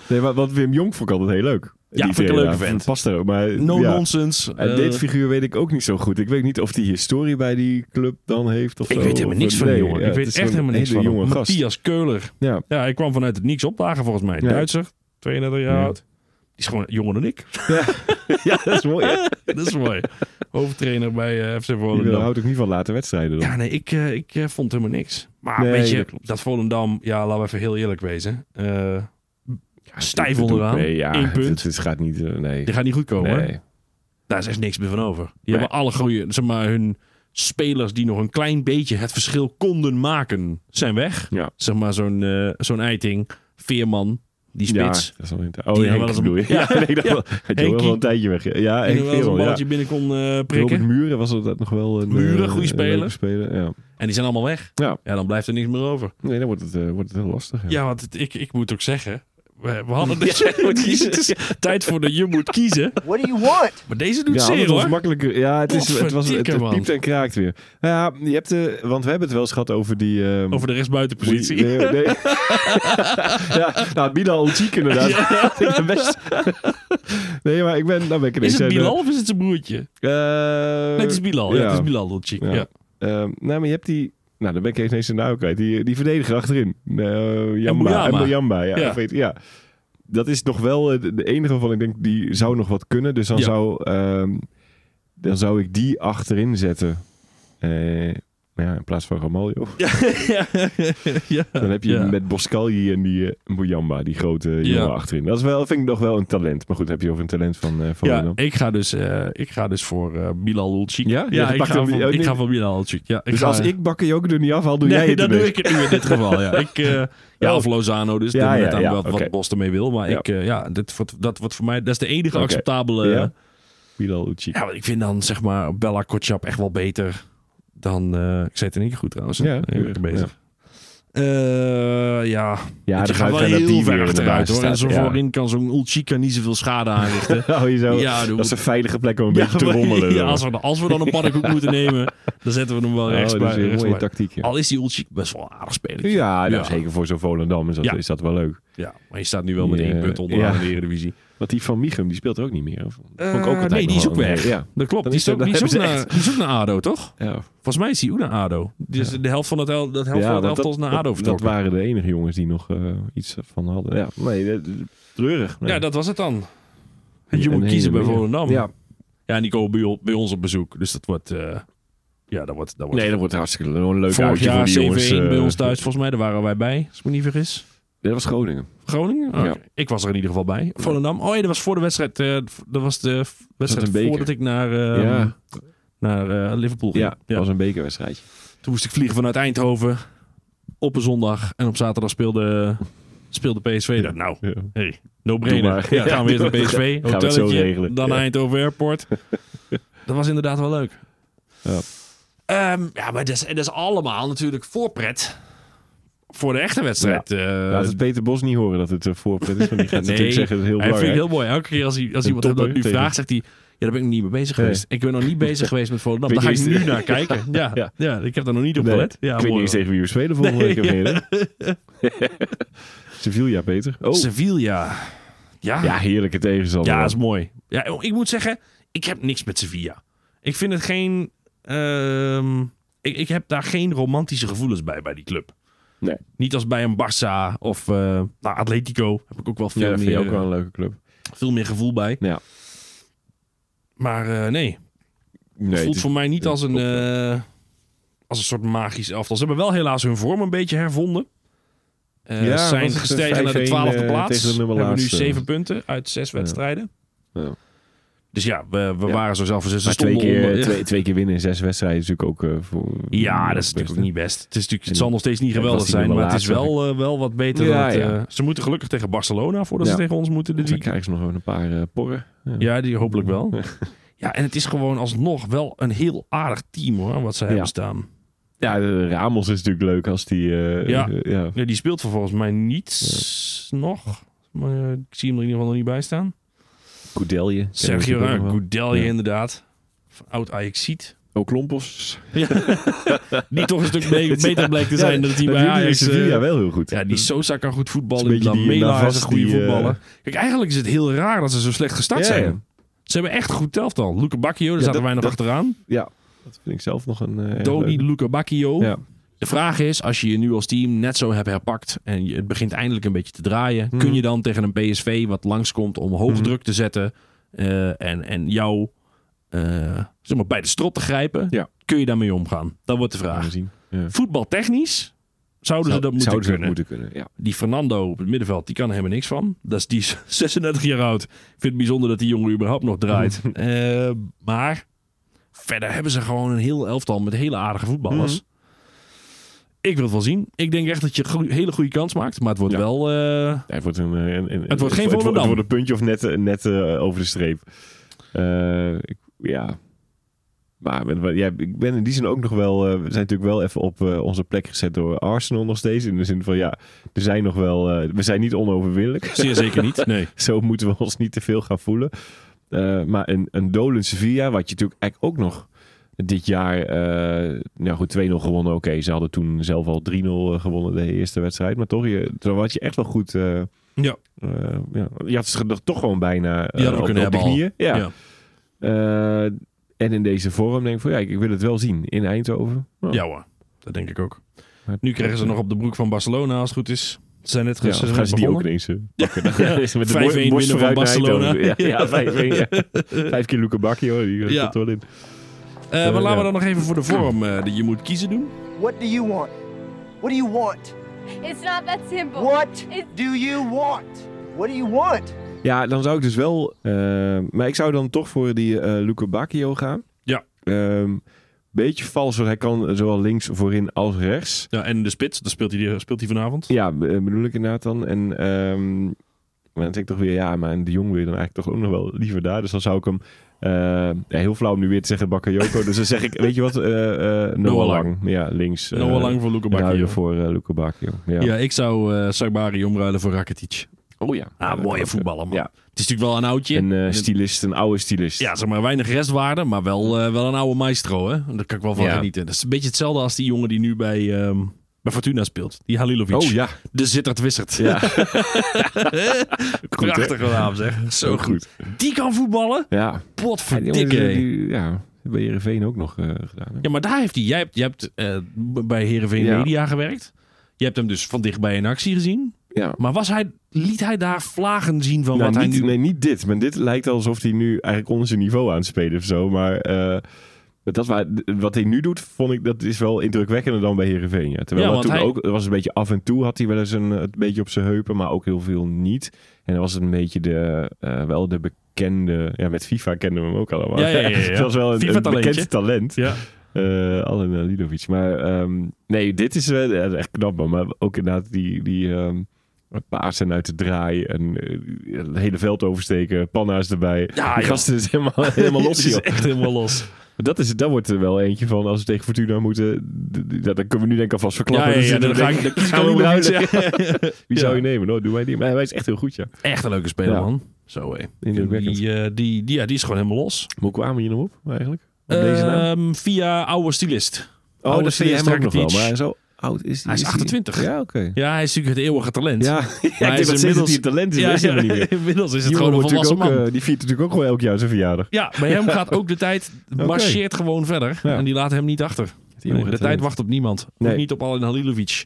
Speaker 5: nee, maar wat Wim Jong vond ik altijd heel leuk.
Speaker 1: Ja,
Speaker 5: Die
Speaker 1: vond ik een
Speaker 5: trainer.
Speaker 1: leuke vent.
Speaker 5: Past er ook. Maar,
Speaker 1: No
Speaker 5: ja.
Speaker 1: nonsense.
Speaker 5: En
Speaker 1: eh,
Speaker 5: dit figuur weet ik ook niet zo goed. Ik weet niet of die historie bij die club dan heeft. Of
Speaker 1: ik
Speaker 5: zo.
Speaker 1: weet helemaal
Speaker 5: Of-
Speaker 1: niks van die
Speaker 5: nee,
Speaker 1: jongen.
Speaker 5: ja,
Speaker 1: ik
Speaker 5: het
Speaker 1: weet
Speaker 5: is
Speaker 1: echt
Speaker 5: een
Speaker 1: helemaal niks
Speaker 5: hele
Speaker 1: van
Speaker 5: jonge
Speaker 1: hem.
Speaker 5: gast.
Speaker 1: Matthias Keuler.
Speaker 5: Ja,
Speaker 1: (laughs) Ja, hij kwam vanuit het niks opdagen volgens mij.
Speaker 5: Ja.
Speaker 1: Duitser, 32 jaar
Speaker 5: Ja.
Speaker 1: oud. Die is gewoon jonger dan ik. (laughs)
Speaker 5: ja, dat is mooi. hè?
Speaker 1: dat is mooi. Hoofdtrainer bij eh, FC
Speaker 5: Die wil-
Speaker 1: Volendam.
Speaker 5: houdt ook niet van late wedstrijden. Dan.
Speaker 1: Ja, nee, ik, eh, ik eh, vond helemaal niks. Maar
Speaker 5: Nee,
Speaker 1: weet je,
Speaker 5: dat
Speaker 1: dat, Volendam, ja, laten we even heel eerlijk wezen. Eh, stijf onderaan.
Speaker 5: Nee, ja,
Speaker 1: Eén punt.
Speaker 5: Het, het gaat niet. eh, nee.
Speaker 1: die gaat niet goed komen. hè?
Speaker 5: nee.
Speaker 1: Daar is echt niks meer van over. Die
Speaker 5: Nee.
Speaker 1: hebben alle goede, zeg maar, hun spelers die nog een klein beetje het verschil konden maken, zijn weg.
Speaker 5: Ja.
Speaker 1: Zeg maar, zo'n eh, zo'n eiting, Veerman, die
Speaker 5: Ja,
Speaker 1: spits.
Speaker 5: dat is wel een- oh,
Speaker 1: Die
Speaker 5: Henk
Speaker 1: wel eens een-
Speaker 5: bedoel (laughs) je? Ja,
Speaker 1: Ja,
Speaker 5: nee, dat
Speaker 1: ja.
Speaker 5: wel- had je wel
Speaker 1: Henkie.
Speaker 5: wel een tijdje weg. Ja, Ja,
Speaker 1: Die
Speaker 5: Henk
Speaker 1: er wel eens een
Speaker 5: Veerman, ja.
Speaker 1: balletje binnen kon eh, prikken.
Speaker 5: Robert Muren was altijd nog wel een...
Speaker 1: Muren,
Speaker 5: eh,
Speaker 1: goede
Speaker 5: een
Speaker 1: speler.
Speaker 5: leuke speler. Ja.
Speaker 1: En die zijn allemaal weg.
Speaker 5: Ja.
Speaker 1: dan blijft er niks meer over.
Speaker 5: Nee, dan wordt het, eh, wordt het heel lastig. Ja.
Speaker 1: Ja, want het- ik, ik moet ook zeggen. We, we
Speaker 5: (laughs)
Speaker 1: hadden dus, (laughs) het is tijd voor dat je moet kiezen.
Speaker 9: What do you want?
Speaker 1: Maar deze doet
Speaker 5: Ja, want
Speaker 1: zeer
Speaker 5: het was
Speaker 1: hoor.
Speaker 5: makkelijker. Ja, het, is, het, was, het,
Speaker 1: Potverdikke,
Speaker 5: het
Speaker 1: man.
Speaker 5: piept en kraakt weer. Nou ja, je hebt de, want we hebben het wel eens gehad over die... ehm,
Speaker 1: Over de rechtsbuitenpositie.
Speaker 5: Nee,
Speaker 1: (laughs)
Speaker 5: nee. ja, nou, Bilal Cheek inderdaad. (laughs) Ik ben best... nee, maar ik ben... Nou ben ik ineens-
Speaker 1: Is het
Speaker 5: eh,
Speaker 1: Bilal of is het zijn broertje?
Speaker 5: eh,
Speaker 1: Nee, het is Bilal. Ja.
Speaker 5: ja.
Speaker 1: het is Bilal, dat chick.
Speaker 5: Ja.
Speaker 1: Ja.
Speaker 5: Ehm, nou, maar je hebt die... Nou, dan ben ik even ineens zijn naam kwijt. Die, die verdediger achterin. Eh Jamba.
Speaker 1: Mbuyama.
Speaker 5: En Jamba, ja.
Speaker 1: Ja.
Speaker 5: Of weet- ja. Dat is nog wel eh, de de enige van, ik denk, die zou nog wat kunnen. Dus dan,
Speaker 1: Ja.
Speaker 5: zou, ehm, dan zou ik die achterin zetten. Eh, ja, in plaats van Ramaljo.
Speaker 1: Ja. (laughs) Ja.
Speaker 5: (laughs) Dan heb je
Speaker 1: Ja.
Speaker 5: met Boscalli en die eh Mbuyamba, die grote jongen achterin. Dat is wel, vind ik nog wel een talent. Maar goed, heb je over een talent van, eh van
Speaker 1: Ja,
Speaker 5: Willem.
Speaker 1: ik ga dus, eh, ik ga dus voor eh, Bilal Ulchik.
Speaker 5: Ja? Je
Speaker 1: ik,
Speaker 5: pakt
Speaker 1: ga
Speaker 5: hem-
Speaker 1: voor,
Speaker 5: oh, nee.
Speaker 1: ik ga voor Bilal Ulchik. Ja,
Speaker 5: Dus
Speaker 1: ga-
Speaker 5: als ik bakken je ook er niet afhaal, doe
Speaker 1: nee,
Speaker 5: jij het
Speaker 1: dat
Speaker 5: ineens.
Speaker 1: doe ik het nu in dit geval. (laughs) Ja, ik, eh, ja
Speaker 5: Oh.
Speaker 1: of Lozano, dus
Speaker 5: Ja,
Speaker 1: ja,
Speaker 5: ja,
Speaker 1: net aan
Speaker 5: ja,
Speaker 1: wat,
Speaker 5: oké.
Speaker 1: wat Bos ermee wil. Maar
Speaker 5: Ja.
Speaker 1: ik, eh, ja, dit, wordt- dat wordt voor mij, dat is de enige
Speaker 5: Oké.
Speaker 1: acceptabele.
Speaker 5: Ja.
Speaker 1: eh,
Speaker 5: Bilal Uchi.
Speaker 1: Ja, want ik vind dan zeg maar Bella Kotschap echt wel beter dan. eh, ik zei het in één keer goed trouwens.
Speaker 5: Ja,
Speaker 1: ik ben
Speaker 5: ja.
Speaker 1: echt bezig. Eh, ja,
Speaker 5: Ja,
Speaker 1: je
Speaker 5: dan
Speaker 1: gaat wel
Speaker 5: je
Speaker 1: heel ver achteruit hoor. En zo
Speaker 5: ja.
Speaker 1: voorin kan zo'n Ulchika niet zoveel schade (laughs) aanrichten.
Speaker 5: (laughs) Oh, je zou-
Speaker 1: Ja, doe-
Speaker 5: dat is een veilige plek om een beetje te
Speaker 1: maar-
Speaker 5: rommelen.
Speaker 1: (laughs) ja, dus als, we, als we dan een paddenkoek moeten nemen, dan zetten we hem wel
Speaker 5: Oh,
Speaker 1: rechts
Speaker 5: dat is
Speaker 1: bij.
Speaker 5: een
Speaker 1: rechts
Speaker 5: mooie
Speaker 1: bij.
Speaker 5: tactiek. Ja,
Speaker 1: Al is die Ulchik best wel een aardig speler.
Speaker 5: ja, nou,
Speaker 1: Ja.
Speaker 5: zeker voor zo'n Volendam is dat,
Speaker 1: Ja.
Speaker 5: is dat wel leuk.
Speaker 1: Ja, maar je staat nu wel met
Speaker 5: Die,
Speaker 1: één
Speaker 5: eh,
Speaker 1: punt onderaan
Speaker 5: ja.
Speaker 1: in de Eredivisie.
Speaker 5: Want die van Michem, die speelt er ook niet meer. Of, Vond ik ook
Speaker 1: Eh,
Speaker 5: altijd
Speaker 1: nee, die
Speaker 5: nog
Speaker 1: is ook
Speaker 5: wel een-
Speaker 1: weg.
Speaker 5: Ja.
Speaker 1: Dat klopt.
Speaker 5: Dan
Speaker 1: Die
Speaker 5: is
Speaker 1: is, ook,
Speaker 5: dat-
Speaker 1: die, is ook
Speaker 5: hebben ze
Speaker 1: naar, die is ook naar ADO, toch?
Speaker 5: ja.
Speaker 1: Volgens mij is die ook naar ADO. Dus de helft van het, el- dat helft van
Speaker 5: want
Speaker 1: het elftal is naar ADO
Speaker 5: dat, dat
Speaker 1: vertrokken.
Speaker 5: waren de enige jongens die nog eh, iets van hadden. Ja, nee, dat- treurig. Nee.
Speaker 1: Ja, dat was het dan. Je
Speaker 5: Een
Speaker 1: moet
Speaker 5: hele
Speaker 1: kiezen bij
Speaker 5: manier.
Speaker 1: Volendam.
Speaker 5: Ja.
Speaker 1: Ja, en die komen bij, o- bij ons op bezoek. Dus dat wordt... eh, ja, dat wordt... Dat wordt
Speaker 5: Nee, dat wordt hartstikke een leuk
Speaker 1: Vorig
Speaker 5: uitje voor
Speaker 1: jaar 7-1
Speaker 5: die jongens. eh,
Speaker 1: bij ons thuis, volgens mij. Daar waren wij bij, als ik me niet vergis.
Speaker 5: Dat was Groningen.
Speaker 1: Groningen? Oh,
Speaker 5: Ja.
Speaker 1: oké. Ik was er in ieder geval bij. Volendam. Oh ja, dat was voor de wedstrijd. eh, dat was de f- wedstrijd
Speaker 5: beker?
Speaker 1: voordat ik naar, eh,
Speaker 5: ja,
Speaker 1: naar eh, Liverpool ging.
Speaker 5: ja, dat was een bekerwedstrijdje.
Speaker 1: Toen moest ik vliegen vanuit Eindhoven op een zondag. En op zaterdag speelde, speelde PSV dat. Nou,
Speaker 5: Ja.
Speaker 1: hey, no
Speaker 5: Doe
Speaker 1: brainer.
Speaker 5: maar.
Speaker 1: Ja, gaan we
Speaker 5: Ja,
Speaker 1: weer naar
Speaker 5: doe maar.
Speaker 1: PSV.
Speaker 5: Gaan we het zo
Speaker 1: Hotelletje,
Speaker 5: regelen.
Speaker 1: dan
Speaker 5: Ja.
Speaker 1: Eindhoven
Speaker 5: (laughs)
Speaker 1: Airport. dat was inderdaad wel leuk.
Speaker 5: Ja.
Speaker 1: Ehm, ja, maar dat is, dat is allemaal natuurlijk voorpret voor de echte wedstrijd. eh,
Speaker 5: Laat het Peter Bos niet horen dat het eh, voorpret is. Want die
Speaker 1: (laughs)
Speaker 5: gaat
Speaker 1: Nee.
Speaker 5: natuurlijk zeggen dat het heel
Speaker 1: hij vindt het
Speaker 5: belangrijk
Speaker 1: heel mooi. Elke keer als, hij, als
Speaker 5: Een
Speaker 1: iemand hem dat
Speaker 5: topper
Speaker 1: nu
Speaker 5: tegen-
Speaker 1: vraagt, zegt hij... Ja, daar ben ik niet mee bezig
Speaker 5: Nee.
Speaker 1: geweest. Ik ben nog niet
Speaker 5: (laughs)
Speaker 1: bezig geweest met Volendam.
Speaker 5: Weet
Speaker 1: Daar ga ik
Speaker 5: je
Speaker 1: nu
Speaker 5: eens-
Speaker 1: naar kijken. Ja, ja.
Speaker 5: (laughs) Ja.
Speaker 1: ik heb daar nog niet op
Speaker 5: Nee,
Speaker 1: gelet. Ja,
Speaker 5: ik weet niet
Speaker 1: mooi
Speaker 5: eens
Speaker 1: hoor.
Speaker 5: tegen wie we spelen volgende
Speaker 1: Nee,
Speaker 5: week. of meer, hè? (laughs) Sevilla, Peter. Oh,
Speaker 1: Sevilla. Ja,
Speaker 5: ja,
Speaker 1: ja,
Speaker 5: heerlijke tegenstander.
Speaker 1: dat is mooi. Ja, oh, ik moet zeggen, ik heb niks met Sevilla. Ik vind het geen... ehm, ik, ik heb daar geen romantische gevoelens bij, bij die club.
Speaker 5: Nee.
Speaker 1: Niet als bij een Barça of eh, nou, Atletico. Heb ik ook wel
Speaker 5: Ja,
Speaker 1: veel,
Speaker 5: dat vind
Speaker 1: meer,
Speaker 5: je ook wel een leuke club.
Speaker 1: veel meer gevoel bij.
Speaker 5: Ja.
Speaker 1: Maar eh, nee,
Speaker 5: Nee, het
Speaker 1: voelt
Speaker 5: is-
Speaker 1: voor mij niet
Speaker 5: het
Speaker 1: als een,
Speaker 5: klopt
Speaker 1: eh, als een soort magisch elftal. Ze hebben wel helaas hun vorm een beetje hervonden. Eh
Speaker 5: Ja,
Speaker 1: zijn
Speaker 5: want het is
Speaker 1: gestegen naar de
Speaker 5: 5-1,
Speaker 1: twaalfde
Speaker 5: eh,
Speaker 1: plaats.
Speaker 5: tegen de
Speaker 1: hebben nu
Speaker 5: nummerlaatste.
Speaker 1: zeven punten uit zes wedstrijden.
Speaker 5: Ja.
Speaker 1: Dus ja, we, we
Speaker 5: Ja.
Speaker 1: waren zo zelf. Ze
Speaker 5: Maar twee
Speaker 1: stonden onder.
Speaker 5: keer,
Speaker 1: Ja.
Speaker 5: twee, twee keer winnen in zes wedstrijden is natuurlijk ook... eh,
Speaker 1: (laughs)
Speaker 5: voor,
Speaker 1: Ja, dat is natuurlijk ook niet best. Het, is natuurlijk, het zal nog steeds niet
Speaker 5: En
Speaker 1: geweldig
Speaker 5: was die nog
Speaker 1: zijn, maar
Speaker 5: wel
Speaker 1: het is
Speaker 5: laat,
Speaker 1: wel, eh, wel wat beter.
Speaker 5: Ja,
Speaker 1: dan het,
Speaker 5: ja.
Speaker 1: eh, ze moeten gelukkig tegen Barcelona voordat ze
Speaker 5: Ja.
Speaker 1: tegen ons moeten. Dit
Speaker 5: Dan
Speaker 1: weekend.
Speaker 5: krijgen ze nog wel een paar eh, porren.
Speaker 1: Ja, die hopelijk
Speaker 5: (laughs)
Speaker 1: wel. Ja, en het is gewoon alsnog wel een heel aardig team hoor, wat ze hebben
Speaker 5: Ja.
Speaker 1: staan.
Speaker 5: Ja, de Ramos is natuurlijk leuk als die... eh,
Speaker 1: Ja.
Speaker 5: eh, ja.
Speaker 1: Ja, die speelt vervolgens mij niets nog. Maar eh, ik zie hem er in ieder geval nog niet bij staan.
Speaker 5: Koudelje.
Speaker 1: Sergio
Speaker 5: Kennen we natuurlijk
Speaker 1: Ramos,
Speaker 5: ook nog wel.
Speaker 1: Goudelje
Speaker 5: Ja.
Speaker 1: inderdaad. Van Oud Ajaxiet.
Speaker 5: Oklompos.
Speaker 1: (laughs) Die toch een
Speaker 5: (laughs)
Speaker 1: stuk me- beter blijkt te zijn dan dat hij bij
Speaker 5: jullie
Speaker 1: Ajax...
Speaker 5: in
Speaker 1: eh,
Speaker 5: Sevilla wel heel goed.
Speaker 1: Ja, die Sosa kan goed
Speaker 5: Het
Speaker 1: voetballen.
Speaker 5: is een beetje die
Speaker 1: Lamela is
Speaker 5: Navas
Speaker 1: een goede
Speaker 5: die, eh,
Speaker 1: voetballer. Kijk, eigenlijk is het heel raar dat ze zo slecht gestart
Speaker 5: Ja,
Speaker 1: zijn.
Speaker 5: ja.
Speaker 1: Ze hebben echt een goed elftal. Luca Bacchio, daar
Speaker 5: Ja,
Speaker 1: zaten
Speaker 5: dat-
Speaker 1: wij nog
Speaker 5: dat-
Speaker 1: achteraan.
Speaker 5: Dat vind ik zelf nog een... eh, erg
Speaker 1: Tony,
Speaker 5: leuk.
Speaker 1: Luca Bacchio.
Speaker 5: Ja.
Speaker 1: De vraag is, als je je nu als team net zo hebt herpakt en je, het begint eindelijk een beetje te draaien,
Speaker 5: Mhm.
Speaker 1: kun je dan tegen een PSV wat langskomt om hoog
Speaker 5: Mhm.
Speaker 1: druk te zetten eh, en, en jou eh, zeg maar, bij de strot te grijpen,
Speaker 5: Ja.
Speaker 1: kun je daarmee omgaan? Dat wordt de
Speaker 5: Gaan
Speaker 1: vraag.
Speaker 5: we zien. Ja.
Speaker 1: Voetbaltechnisch zouden ze dat moeten
Speaker 5: zouden ze dat
Speaker 1: kunnen.
Speaker 5: moeten kunnen, ja.
Speaker 1: Die Fernando op het middenveld, die kan er helemaal niks van. Dat is, die is (laughs) 36 jaar oud. Ik vind het bijzonder dat die jongen überhaupt nog draait.
Speaker 5: (laughs)
Speaker 1: Eh, maar verder hebben ze gewoon een heel elftal met hele aardige voetballers.
Speaker 5: Mhm.
Speaker 1: Ik wil het wel zien. Ik denk echt dat je goe- hele goede kans maakt. Maar het wordt
Speaker 5: Ja.
Speaker 1: wel... eh,
Speaker 5: (laughs) Ja, het wordt een, eh, een- een-
Speaker 1: geen
Speaker 5: Het wordt,
Speaker 1: Volendam.
Speaker 5: het wordt een puntje of net, eh, net eh, over de streep. Eh, ik- ja. Maar ben- ben- ja, ik ben in die zin ook nog wel... eh, we zijn natuurlijk wel even op eh, onze plek gezet door Arsenal nog steeds. In de zin van, ja, er zijn nog wel... eh, we zijn niet onoverwinnelijk.
Speaker 1: zeer zeker niet. Nee.
Speaker 5: Zo moeten we (laughs) ons niet te veel gaan voelen. Eh, maar een, een dolend Sevilla, wat je natuurlijk eigenlijk ook nog dit jaar... eh, nou goed, 2-0 gewonnen. Oké, ze hadden toen zelf al 3-0 gewonnen de eerste wedstrijd. Maar toch, je, toen had je echt wel goed... eh,
Speaker 1: Ja.
Speaker 5: eh, ja. Je had ze er toch gewoon bijna eh,
Speaker 1: Die hadden we
Speaker 5: op,
Speaker 1: kunnen
Speaker 5: op de
Speaker 1: hebben al.
Speaker 5: knieën. Ja.
Speaker 1: Ja.
Speaker 5: Eh, en in deze vorm denk ik van ja, ik, ik wil het wel zien in Eindhoven. Nou,
Speaker 1: Ja hoor, dat denk ik ook.
Speaker 5: maar-
Speaker 1: Nu krijgen ze nog op de broek van Barcelona als het goed is. Ze zijn net
Speaker 5: Ja, of
Speaker 1: gisteren
Speaker 5: gaan ze die ook
Speaker 1: begonnen.
Speaker 5: ineens eh, pakken. Dan
Speaker 1: (laughs)
Speaker 5: gaan ze met de
Speaker 1: 5-1
Speaker 5: borst
Speaker 1: winnen
Speaker 5: vooruit
Speaker 1: van
Speaker 5: naar
Speaker 1: Barcelona.
Speaker 5: Eindhoven. Ja, ja, 5-1. ja.
Speaker 1: (laughs)
Speaker 5: Vijf keer Luca Bacchio, die eh,
Speaker 1: Ja.
Speaker 5: zat wel in.
Speaker 1: Eh, maar
Speaker 5: Eh,
Speaker 1: laten we
Speaker 5: ja.
Speaker 1: dan nog even voor de vorm eh, die je moet kiezen doen.
Speaker 9: What do you want? What do you want?
Speaker 10: It's not that simple.
Speaker 9: What
Speaker 10: It's-
Speaker 9: do you want? What do you want?
Speaker 5: Ja, dan zou ik dus wel. eh, maar ik zou dan toch voor die eh Luca Bacchio gaan.
Speaker 1: Ja.
Speaker 5: Ehm, beetje vals, want hij kan zowel links voorin als rechts.
Speaker 1: Ja, en de spits, daar speelt hij, speelt hij vanavond.
Speaker 5: Ja, eh, bedoel ik inderdaad dan. En ehm, maar dan denk ik toch weer, ja, maar de Jong wil je dan eigenlijk toch ook nog wel liever daar. Dus dan zou ik hem... eh, ja, heel flauw om nu weer te zeggen Bakayoko. dus dan zeg ik, weet je wat? eh eh, Noah
Speaker 1: Noah
Speaker 5: Lang. Ja, links. eh,
Speaker 1: Noah Lang voor Luca
Speaker 5: en
Speaker 1: Bacchio.
Speaker 5: Huilen voor eh Luca Bacchio. Ja.
Speaker 1: Ja, ik zou eh Sagbari omruilen voor Rakitic.
Speaker 5: Oh ja.
Speaker 1: Ah, mooie voetballer, man.
Speaker 5: Ja.
Speaker 1: Het is natuurlijk wel een oudje.
Speaker 5: Een eh, stylist, een oude stylist.
Speaker 1: ja, zeg maar, weinig restwaarde, maar wel, eh, wel een oude maestro, hè. Daar kan ik wel van
Speaker 5: Ja.
Speaker 1: genieten. Dat is een beetje hetzelfde als die jongen die nu bij, ehm, bij Fortuna speelt. Die Halilovic.
Speaker 5: Oh ja.
Speaker 1: De Zittert Wissert. (laughs)
Speaker 5: (laughs) Ja. hè?
Speaker 1: Prachtige naam, zeg. Zo goed. Die kan voetballen?
Speaker 5: Ja.
Speaker 1: Potverdikke.
Speaker 5: Ja, die- eh, die- ja, bij Heerenveen ook nog eh, gedaan. hè?
Speaker 1: Ja, maar daar heeft hij. Jij hebt, jij hebt eh, b- bij Heerenveen
Speaker 5: Ja.
Speaker 1: Media gewerkt. Je hebt hem dus van dichtbij in actie gezien.
Speaker 5: Ja.
Speaker 1: Maar was hij, liet hij daar vlagen zien van
Speaker 5: Nou,
Speaker 1: wat
Speaker 5: niet,
Speaker 1: hij nu...
Speaker 5: Nee, niet dit. Maar dit lijkt alsof hij nu eigenlijk onder zijn niveau aan het spelen of zo. Maar eh, dat waar, wat hij nu doet, vond ik, dat is wel indrukwekkender dan bij Heerenveen. Ja. Terwijl
Speaker 1: Ja,
Speaker 5: dat toen
Speaker 1: want hij-
Speaker 5: ook, het was een beetje af en toe had hij wel eens een, een beetje op zijn heupen, maar ook heel veel niet. En dan was het een beetje de, eh, wel de bekende, ja met FIFA kenden we hem ook allemaal.
Speaker 1: Ja, ja, ja, ja.
Speaker 5: (laughs) het was wel een, een
Speaker 1: FIFA-talentje.
Speaker 5: bekend talent.
Speaker 1: Ja.
Speaker 5: eh Allen Lidovic. Maar ehm, nee, dit is wel ja, echt knap. man. Maar ook inderdaad die, die ehm, paas en uit de draai. En eh, het hele veld oversteken. Panna's erbij.
Speaker 1: Ja,
Speaker 5: die
Speaker 1: joh.
Speaker 5: gasten is helemaal, (laughs) helemaal los.
Speaker 1: (laughs) Het is
Speaker 5: joh.
Speaker 1: echt helemaal los.
Speaker 5: Dat, is, dat wordt er wel eentje van als we tegen Fortuna moeten. d- d- Dat, dat kunnen we nu denk ik alvast verklappen. Dus dan denk ik, (laughs)
Speaker 1: kies
Speaker 5: gaan we
Speaker 1: ook
Speaker 5: hem
Speaker 1: nog
Speaker 5: ruilen.
Speaker 1: iets, ja.
Speaker 5: (laughs) Wie zou je
Speaker 1: Ja.
Speaker 5: nemen? Nou, doen wij die. Maar hij is echt heel goed, ja.
Speaker 1: Echt een leuke speler,
Speaker 5: Ja.
Speaker 1: man. Zo, hé.
Speaker 5: Indrukwekkend.
Speaker 1: Die, eh, die, die, ja, die is gewoon helemaal los.
Speaker 5: Hoe kwamen we hier nou op eigenlijk? Op deze naam?
Speaker 1: Ehm, via oude stylist. oude
Speaker 5: oh, dat vind je
Speaker 1: CS
Speaker 5: hem ook nog wel.
Speaker 1: Rakitic.
Speaker 5: Maar zo oud is
Speaker 1: Hij is 28.
Speaker 5: Ja, oké.
Speaker 1: Ja, hij is natuurlijk het eeuwige talent.
Speaker 5: (laughs)
Speaker 1: (laughs)
Speaker 5: Ja, ja, ik denk
Speaker 1: is
Speaker 5: dat
Speaker 1: inmiddels-
Speaker 5: inmiddels... die talent is,
Speaker 1: Ja,
Speaker 5: maar is
Speaker 1: ja,
Speaker 5: helemaal niet meer.
Speaker 1: inmiddels (laughs) is het
Speaker 5: Die
Speaker 1: gewoon een
Speaker 5: jongen wordt
Speaker 1: volwassen
Speaker 5: natuurlijk
Speaker 1: man.
Speaker 5: ook, eh, die viert natuurlijk ook gewoon elk jaar zijn verjaardag.
Speaker 1: ja, bij hem gaat ook de tijd marcheert gewoon verder.
Speaker 5: Ja.
Speaker 1: En die laat hem niet achter.
Speaker 5: jongen
Speaker 1: Nee, de
Speaker 5: gaat
Speaker 1: tijd
Speaker 5: erin.
Speaker 1: wacht op niemand. Ook
Speaker 5: eh, Nee.
Speaker 1: niet op Alin Halilovic.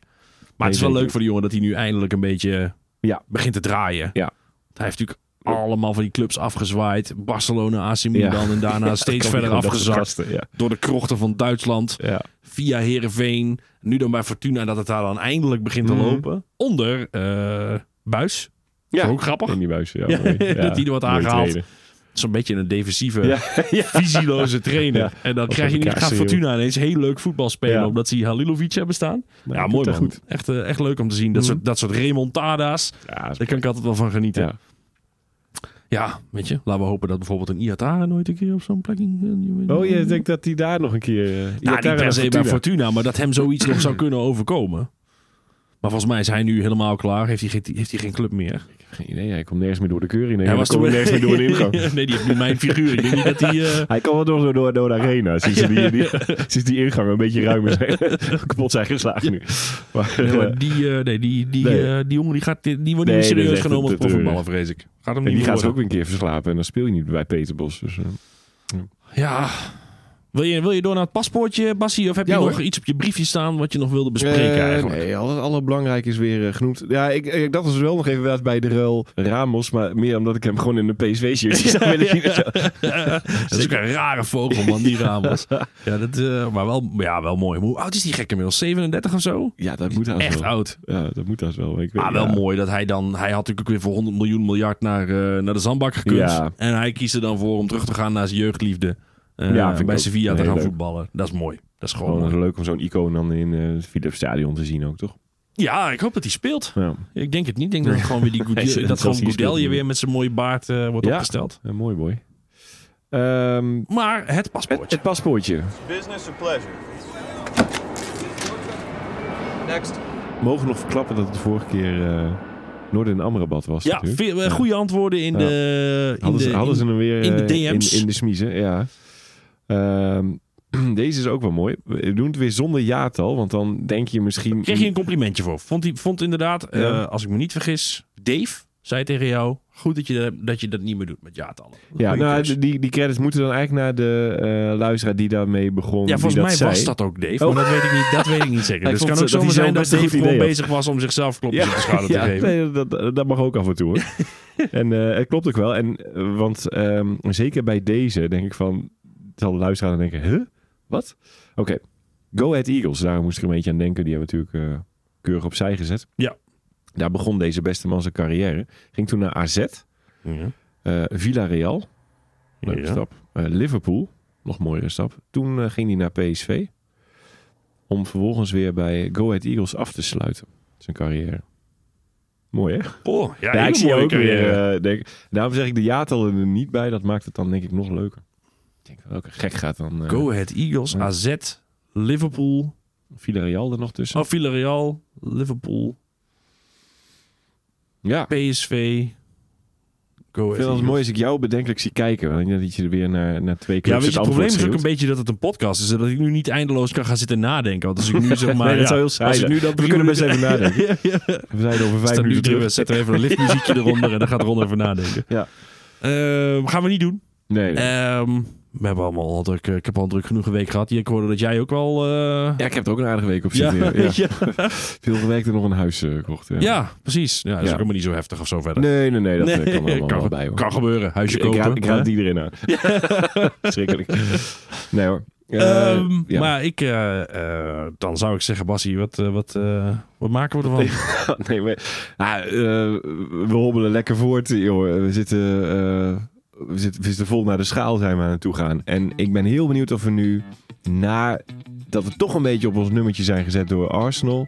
Speaker 1: Maar het is wel
Speaker 5: zeker.
Speaker 1: leuk voor de jongen dat hij nu eindelijk een beetje eh,
Speaker 5: Ja.
Speaker 1: begint te draaien.
Speaker 5: Ja.
Speaker 1: Want Hij heeft natuurlijk allemaal van die clubs afgezwaaid. Barcelona, AC Milan
Speaker 5: (laughs) Ja.
Speaker 1: en daarna steeds
Speaker 5: Kan
Speaker 1: verder
Speaker 5: gewoon dat soort
Speaker 1: afgezakt.
Speaker 5: gasten, Ja.
Speaker 1: Door de krochten van Duitsland,
Speaker 5: Ja.
Speaker 1: via Herenveen. Nu dan bij Fortuna dat het daar dan eindelijk begint
Speaker 5: Mhm.
Speaker 1: te lopen. Onder eh Buis. Ja.
Speaker 5: Ja.
Speaker 1: Ook grappig.
Speaker 5: In die buis,
Speaker 1: (laughs)
Speaker 5: ja.
Speaker 1: Ja,
Speaker 5: mooi.
Speaker 1: dat hij er wat
Speaker 5: Mooi
Speaker 1: aangehaald.
Speaker 5: trainer.
Speaker 1: Zo'n beetje een defensieve,
Speaker 5: Ja, (laughs)
Speaker 1: visieloze trainer.
Speaker 5: Ja.
Speaker 1: En dan
Speaker 5: Als
Speaker 1: krijg je
Speaker 5: we
Speaker 1: niet,
Speaker 5: elkaar
Speaker 1: gaat
Speaker 5: schreeuwen.
Speaker 1: Fortuna ineens heel leuk voetbal spelen.
Speaker 5: Ja.
Speaker 1: Omdat ze Halilovic hebben staan.
Speaker 5: Nee,
Speaker 1: ja,
Speaker 5: Nou, goed,
Speaker 1: mooi
Speaker 5: hè,
Speaker 1: man.
Speaker 5: goed. Mhm.
Speaker 1: Echt, eh, echt leuk om te zien. Dat, soort, dat soort remontada's.
Speaker 5: Ja,
Speaker 1: Daar kan ik altijd wel van genieten. Ja,
Speaker 5: ja.
Speaker 1: weet je. Laten we hopen dat bijvoorbeeld een Iatare nooit een keer op zo'n plek...
Speaker 5: Oh, je denkt dat hij daar nog een keer... eh,
Speaker 1: Nou,
Speaker 5: Iatara
Speaker 1: niet per se
Speaker 5: Fortuna.
Speaker 1: bij Fortuna, maar dat hem zoiets
Speaker 5: (clears throat)
Speaker 1: nog zou kunnen overkomen. Maar volgens mij is hij nu helemaal klaar. Heeft hij geen, heeft hij geen club meer?
Speaker 5: Geen idee, hij komt nergens meer door de keuring. Nee,
Speaker 1: hij
Speaker 5: hij komt
Speaker 1: toen- (laughs)
Speaker 5: nergens meer door de ingang.
Speaker 1: nee, die heeft nu mijn figuur. Ik denk niet dat hij... eh,
Speaker 5: Hij kan wel door, door, door, door de arena,
Speaker 1: (laughs)
Speaker 5: sinds, die, die, sinds die ingang een beetje ruimer zijn. (laughs) kapot zijn geslagen nu. Maar,
Speaker 1: Nee,
Speaker 5: eh,
Speaker 1: maar die, eh, nee, die, die,
Speaker 5: Nee.
Speaker 1: eh, die jongen die gaat, die, die wordt
Speaker 5: Nee,
Speaker 1: niet
Speaker 5: dat
Speaker 1: meer
Speaker 5: is
Speaker 1: serieus
Speaker 5: echt
Speaker 1: genomen
Speaker 5: een
Speaker 1: als
Speaker 5: treurig.
Speaker 1: profvoetballer, vrees ik. Gaat hem
Speaker 5: en
Speaker 1: niet
Speaker 5: die gaat
Speaker 1: worden.
Speaker 5: zich ook weer een keer verslapen. En dan speel je niet bij Peterbos. Dus, eh,
Speaker 1: Ja. Wil je, wil je door naar het paspoortje, Bassie? Of heb
Speaker 5: Ja,
Speaker 1: je
Speaker 5: hoor.
Speaker 1: nog iets op je briefje staan wat je nog wilde bespreken
Speaker 5: Eh,
Speaker 1: eigenlijk?
Speaker 5: Nee, alle, alle belangrijk is weer eh, genoemd. Ja, ik, ik dacht dus wel nog even wat bij de ruil Ramos, maar meer omdat ik hem gewoon in een
Speaker 1: (laughs)
Speaker 5: PSV-shirt zou willen zien.
Speaker 1: Dat is ook een rare vogel, man, die
Speaker 5: (laughs)
Speaker 1: Ramos. ja, dat, eh, maar wel, ja, wel mooi. Maar Hoe oud is die gek inmiddels? 37 of zo?
Speaker 5: Ja, dat moet haast
Speaker 1: Echt
Speaker 5: wel.
Speaker 1: oud.
Speaker 5: Ja, dat moet haast wel. Ik weet,
Speaker 1: Maar wel
Speaker 5: ja.
Speaker 1: mooi dat hij dan... Hij had natuurlijk ook weer voor 100 miljoen miljard naar, eh, naar de zandbak gekund.
Speaker 5: Ja.
Speaker 1: En hij kiest er dan voor om terug te gaan naar zijn jeugdliefde. eh,
Speaker 5: Ja, vind ik
Speaker 1: bij
Speaker 5: ook.
Speaker 1: Sevilla te
Speaker 5: Nee,
Speaker 1: gaan
Speaker 5: leuk. Oh,
Speaker 1: voetballen. Dat is mooi. Dat is gewoon
Speaker 5: Gewoon
Speaker 1: mooi.
Speaker 5: leuk om zo'n icoon dan in eh, het Philips Stadion te zien ook, toch?
Speaker 1: Ja, ik hoop dat hij speelt.
Speaker 5: Ja,
Speaker 1: Ik denk het niet. Ik denk dat het gewoon weer die Goodell-
Speaker 5: Nee, dat
Speaker 1: dat gewoon
Speaker 5: zal (laughs) hij
Speaker 1: Goodell je
Speaker 5: spelen.
Speaker 1: weer met zijn mooie baard eh, wordt
Speaker 5: Ja.
Speaker 1: opgesteld.
Speaker 5: eh, mooi boy. Ehm,
Speaker 1: Maar het
Speaker 5: het,
Speaker 1: paspoortje.
Speaker 5: het paspoortje.
Speaker 6: Business or pleasure? Next.
Speaker 5: Mogen we nog verklappen dat het de vorige keer eh Noorden en Amrabat was?
Speaker 1: ja,
Speaker 5: natuurlijk.
Speaker 1: veel, eh,
Speaker 5: Ja.
Speaker 1: goede antwoorden in
Speaker 5: Ja.
Speaker 1: de... In
Speaker 5: Hadden,
Speaker 1: de
Speaker 5: ze, hadden
Speaker 1: in-
Speaker 5: ze hem weer
Speaker 1: in de
Speaker 5: eh,
Speaker 1: DM's.
Speaker 5: In, in de smiezen, ja. Ehm, (clears throat) deze is ook wel mooi. We doen het weer zonder jaartal, want dan denk je misschien...
Speaker 1: Kreeg je een complimentje voor. Vond, hij, vond inderdaad, eh,
Speaker 5: Ja.
Speaker 1: als ik me niet vergis, Dave zei tegen jou... Goed dat je dat, je dat niet meer doet met jaartallen.
Speaker 5: Ja,
Speaker 1: Goeie
Speaker 5: nou,
Speaker 1: keus.
Speaker 5: die, die credits moeten dan eigenlijk naar de eh, luisteraar die daarmee begon.
Speaker 1: ja,
Speaker 5: die
Speaker 1: volgens mij
Speaker 5: dat
Speaker 1: was
Speaker 5: zei.
Speaker 1: dat ook Dave.
Speaker 5: Oh.
Speaker 1: Maar dat weet ik niet, dat weet ik niet zeker.
Speaker 5: (laughs) Hij
Speaker 1: dus het
Speaker 5: vond
Speaker 1: kan
Speaker 5: ze-
Speaker 1: ook
Speaker 5: dat hij
Speaker 1: zomaar zijn dat Dave
Speaker 5: zelf best een goed
Speaker 1: gewoon
Speaker 5: idee had.
Speaker 1: bezig was om zichzelf klopjes op de schouder te
Speaker 5: (laughs) ja,
Speaker 1: geven.
Speaker 5: nee, dat, dat mag ook af en toe hoor.
Speaker 1: (laughs)
Speaker 5: en eh, het klopt ook wel. En, eh, want ehm, zeker bij deze denk ik van... Zal de luisteraar dan denken, huh? Wat? Oké, Go Ahead Eagles. Daar moest ik een beetje aan denken. Die hebben natuurlijk eh, keurig opzij gezet.
Speaker 1: Ja.
Speaker 5: Daar begon deze beste man zijn carrière. Ging toen naar AZ,
Speaker 1: Ja.
Speaker 5: eh Villarreal. Leuke
Speaker 1: Ja.
Speaker 5: stap. Eh, Liverpool, nog mooiere stap. Toen eh, ging hij naar PSV. Om vervolgens weer bij Go Ahead Eagles af te sluiten. Zijn carrière. Mooi hè?
Speaker 1: Oh, ja,
Speaker 5: Ja,
Speaker 1: hele
Speaker 5: ik zie
Speaker 1: mooie
Speaker 5: ook
Speaker 1: carrière.
Speaker 5: weer. eh, denk, daarom zeg ik de jaartallen er niet bij. Dat maakt het dan denk ik nog leuker. Ik denk welke gek gaat dan eh
Speaker 1: Go Ahead Eagles,
Speaker 5: Ja.
Speaker 1: AZ, Liverpool,
Speaker 5: Villarreal er nog tussen.
Speaker 1: oh, Villarreal, Liverpool,
Speaker 5: ja,
Speaker 1: PSV. Go
Speaker 5: ik
Speaker 1: Ahead
Speaker 5: vind het
Speaker 1: Eagles.
Speaker 5: mooi als ik jou bedenkelijk zie kijken. Want ik denk dat je er weer naar, naar twee keer
Speaker 1: Ja, weet je, het probleem is ook een beetje dat het een podcast is. en Dat ik nu niet eindeloos kan gaan zitten nadenken. Want als
Speaker 5: (laughs)
Speaker 1: ik nu zeg maar...
Speaker 5: Nee, dat
Speaker 1: ja,
Speaker 5: zou heel saai
Speaker 1: als ik
Speaker 5: zijn.
Speaker 1: nu dat
Speaker 5: We
Speaker 1: drie
Speaker 5: kunnen best even
Speaker 1: minuten-
Speaker 5: nadenken.
Speaker 1: (laughs) Ja, ja.
Speaker 5: We zijn over vijf
Speaker 1: Staat nu
Speaker 5: minuten
Speaker 1: drie, we
Speaker 5: terug.
Speaker 1: zetten even een
Speaker 5: (laughs)
Speaker 1: lichtmuziekje eronder en dan gaat Ron over nadenken.
Speaker 5: Ja.
Speaker 1: Ehm, gaan we niet doen.
Speaker 5: Nee, nee.
Speaker 1: Ehm, we hebben allemaal al druk, eh, ik heb al een druk genoeg een week gehad. Ik hoorde dat jij ook al... eh,
Speaker 5: Ja, ik heb er ook een aardige week op
Speaker 1: ja,
Speaker 5: zitten. Ja, ja.
Speaker 1: ja.
Speaker 5: Veel gewerkt en nog een huis eh, gekocht.
Speaker 1: (laughs)
Speaker 5: Ja.
Speaker 1: Ja, precies. Ja, dat is
Speaker 5: Ja.
Speaker 1: ook helemaal niet zo heftig of zo verder.
Speaker 5: Nee, nee, nee. Dat eh, kan er allemaal
Speaker 1: (laughs) kan,
Speaker 5: wel bij hoor.
Speaker 1: kan gebeuren. Huisje
Speaker 5: Ik
Speaker 1: kopen.
Speaker 5: raad, ik
Speaker 1: hè?
Speaker 5: raad iedereen aan. Schrikkelijk. Nee hoor. Eh,
Speaker 1: Ehm,
Speaker 5: ja.
Speaker 1: Maar ik, eh, eh, dan zou ik zeggen, Bassie, wat, eh, wat, eh, wat maken
Speaker 5: (laughs)
Speaker 1: we ervan?
Speaker 5: nee, maar, ah, eh, we hobbelen lekker voort, joh. We zitten, eh, we, zitten, we zitten vol naar de schaal zijn we aan het toe gaan. En ik ben heel benieuwd of we nu, na dat we toch een beetje op ons nummertje zijn gezet door Arsenal,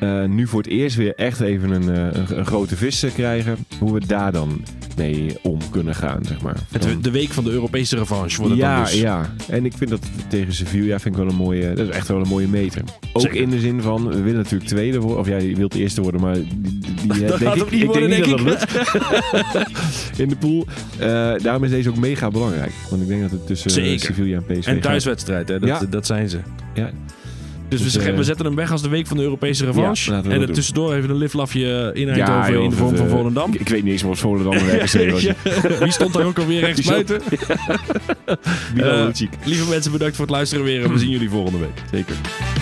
Speaker 5: eh, nu voor het eerst weer echt even een, eh, een, een grote vis eh, krijgen. Hoe we daar dan mee om kunnen gaan, zeg maar.
Speaker 1: Het- de week van de Europese revanche wordt het
Speaker 5: ja,
Speaker 1: dan dus.
Speaker 5: ja. En ik vind dat tegen Sevilla vind ik wel een mooie, dat is echt wel een mooie meter. Ook
Speaker 1: Zeker.
Speaker 5: in de zin van, we willen natuurlijk tweede worden. Of jij wilt eerste worden, maar die, die-
Speaker 1: (laughs)
Speaker 5: die-
Speaker 1: Dat
Speaker 5: denk
Speaker 1: gaat
Speaker 5: ik,
Speaker 1: ook niet
Speaker 5: ik
Speaker 1: worden,
Speaker 5: denk
Speaker 1: denk
Speaker 5: niet dat dat lukt. (laughs) in de pool. Eh, daarom is deze ook mega belangrijk. Want ik denk dat het tussen eh,
Speaker 1: Zeker.
Speaker 5: Sevilla en PSV
Speaker 1: En
Speaker 5: gaat.
Speaker 1: thuiswedstrijd, hè? Dat,
Speaker 5: Ja.
Speaker 1: dat zijn ze.
Speaker 5: Ja.
Speaker 1: Dus we,
Speaker 5: Dus,
Speaker 1: zeggen,
Speaker 5: eh,
Speaker 1: we zetten hem weg als de week van de Europese revanche.
Speaker 5: laten we
Speaker 1: en
Speaker 5: dat
Speaker 1: er
Speaker 5: doen.
Speaker 1: tussendoor even een liflafje in Eindhoven
Speaker 5: joh,
Speaker 1: in de vorm
Speaker 5: dat,
Speaker 1: van
Speaker 5: eh, (laughs)
Speaker 1: Volendam.
Speaker 5: Ik, ik weet niet eens meer wat Volendam
Speaker 1: (laughs)
Speaker 5: een RKC was.
Speaker 1: Ja. Wie stond daar ook alweer rechts buiten?
Speaker 5: Bilal
Speaker 1: Eh,
Speaker 5: Lucic. (laughs) (clears throat)
Speaker 1: Lieve mensen, bedankt voor het luisteren weer. En we zien jullie volgende week.
Speaker 5: Zeker.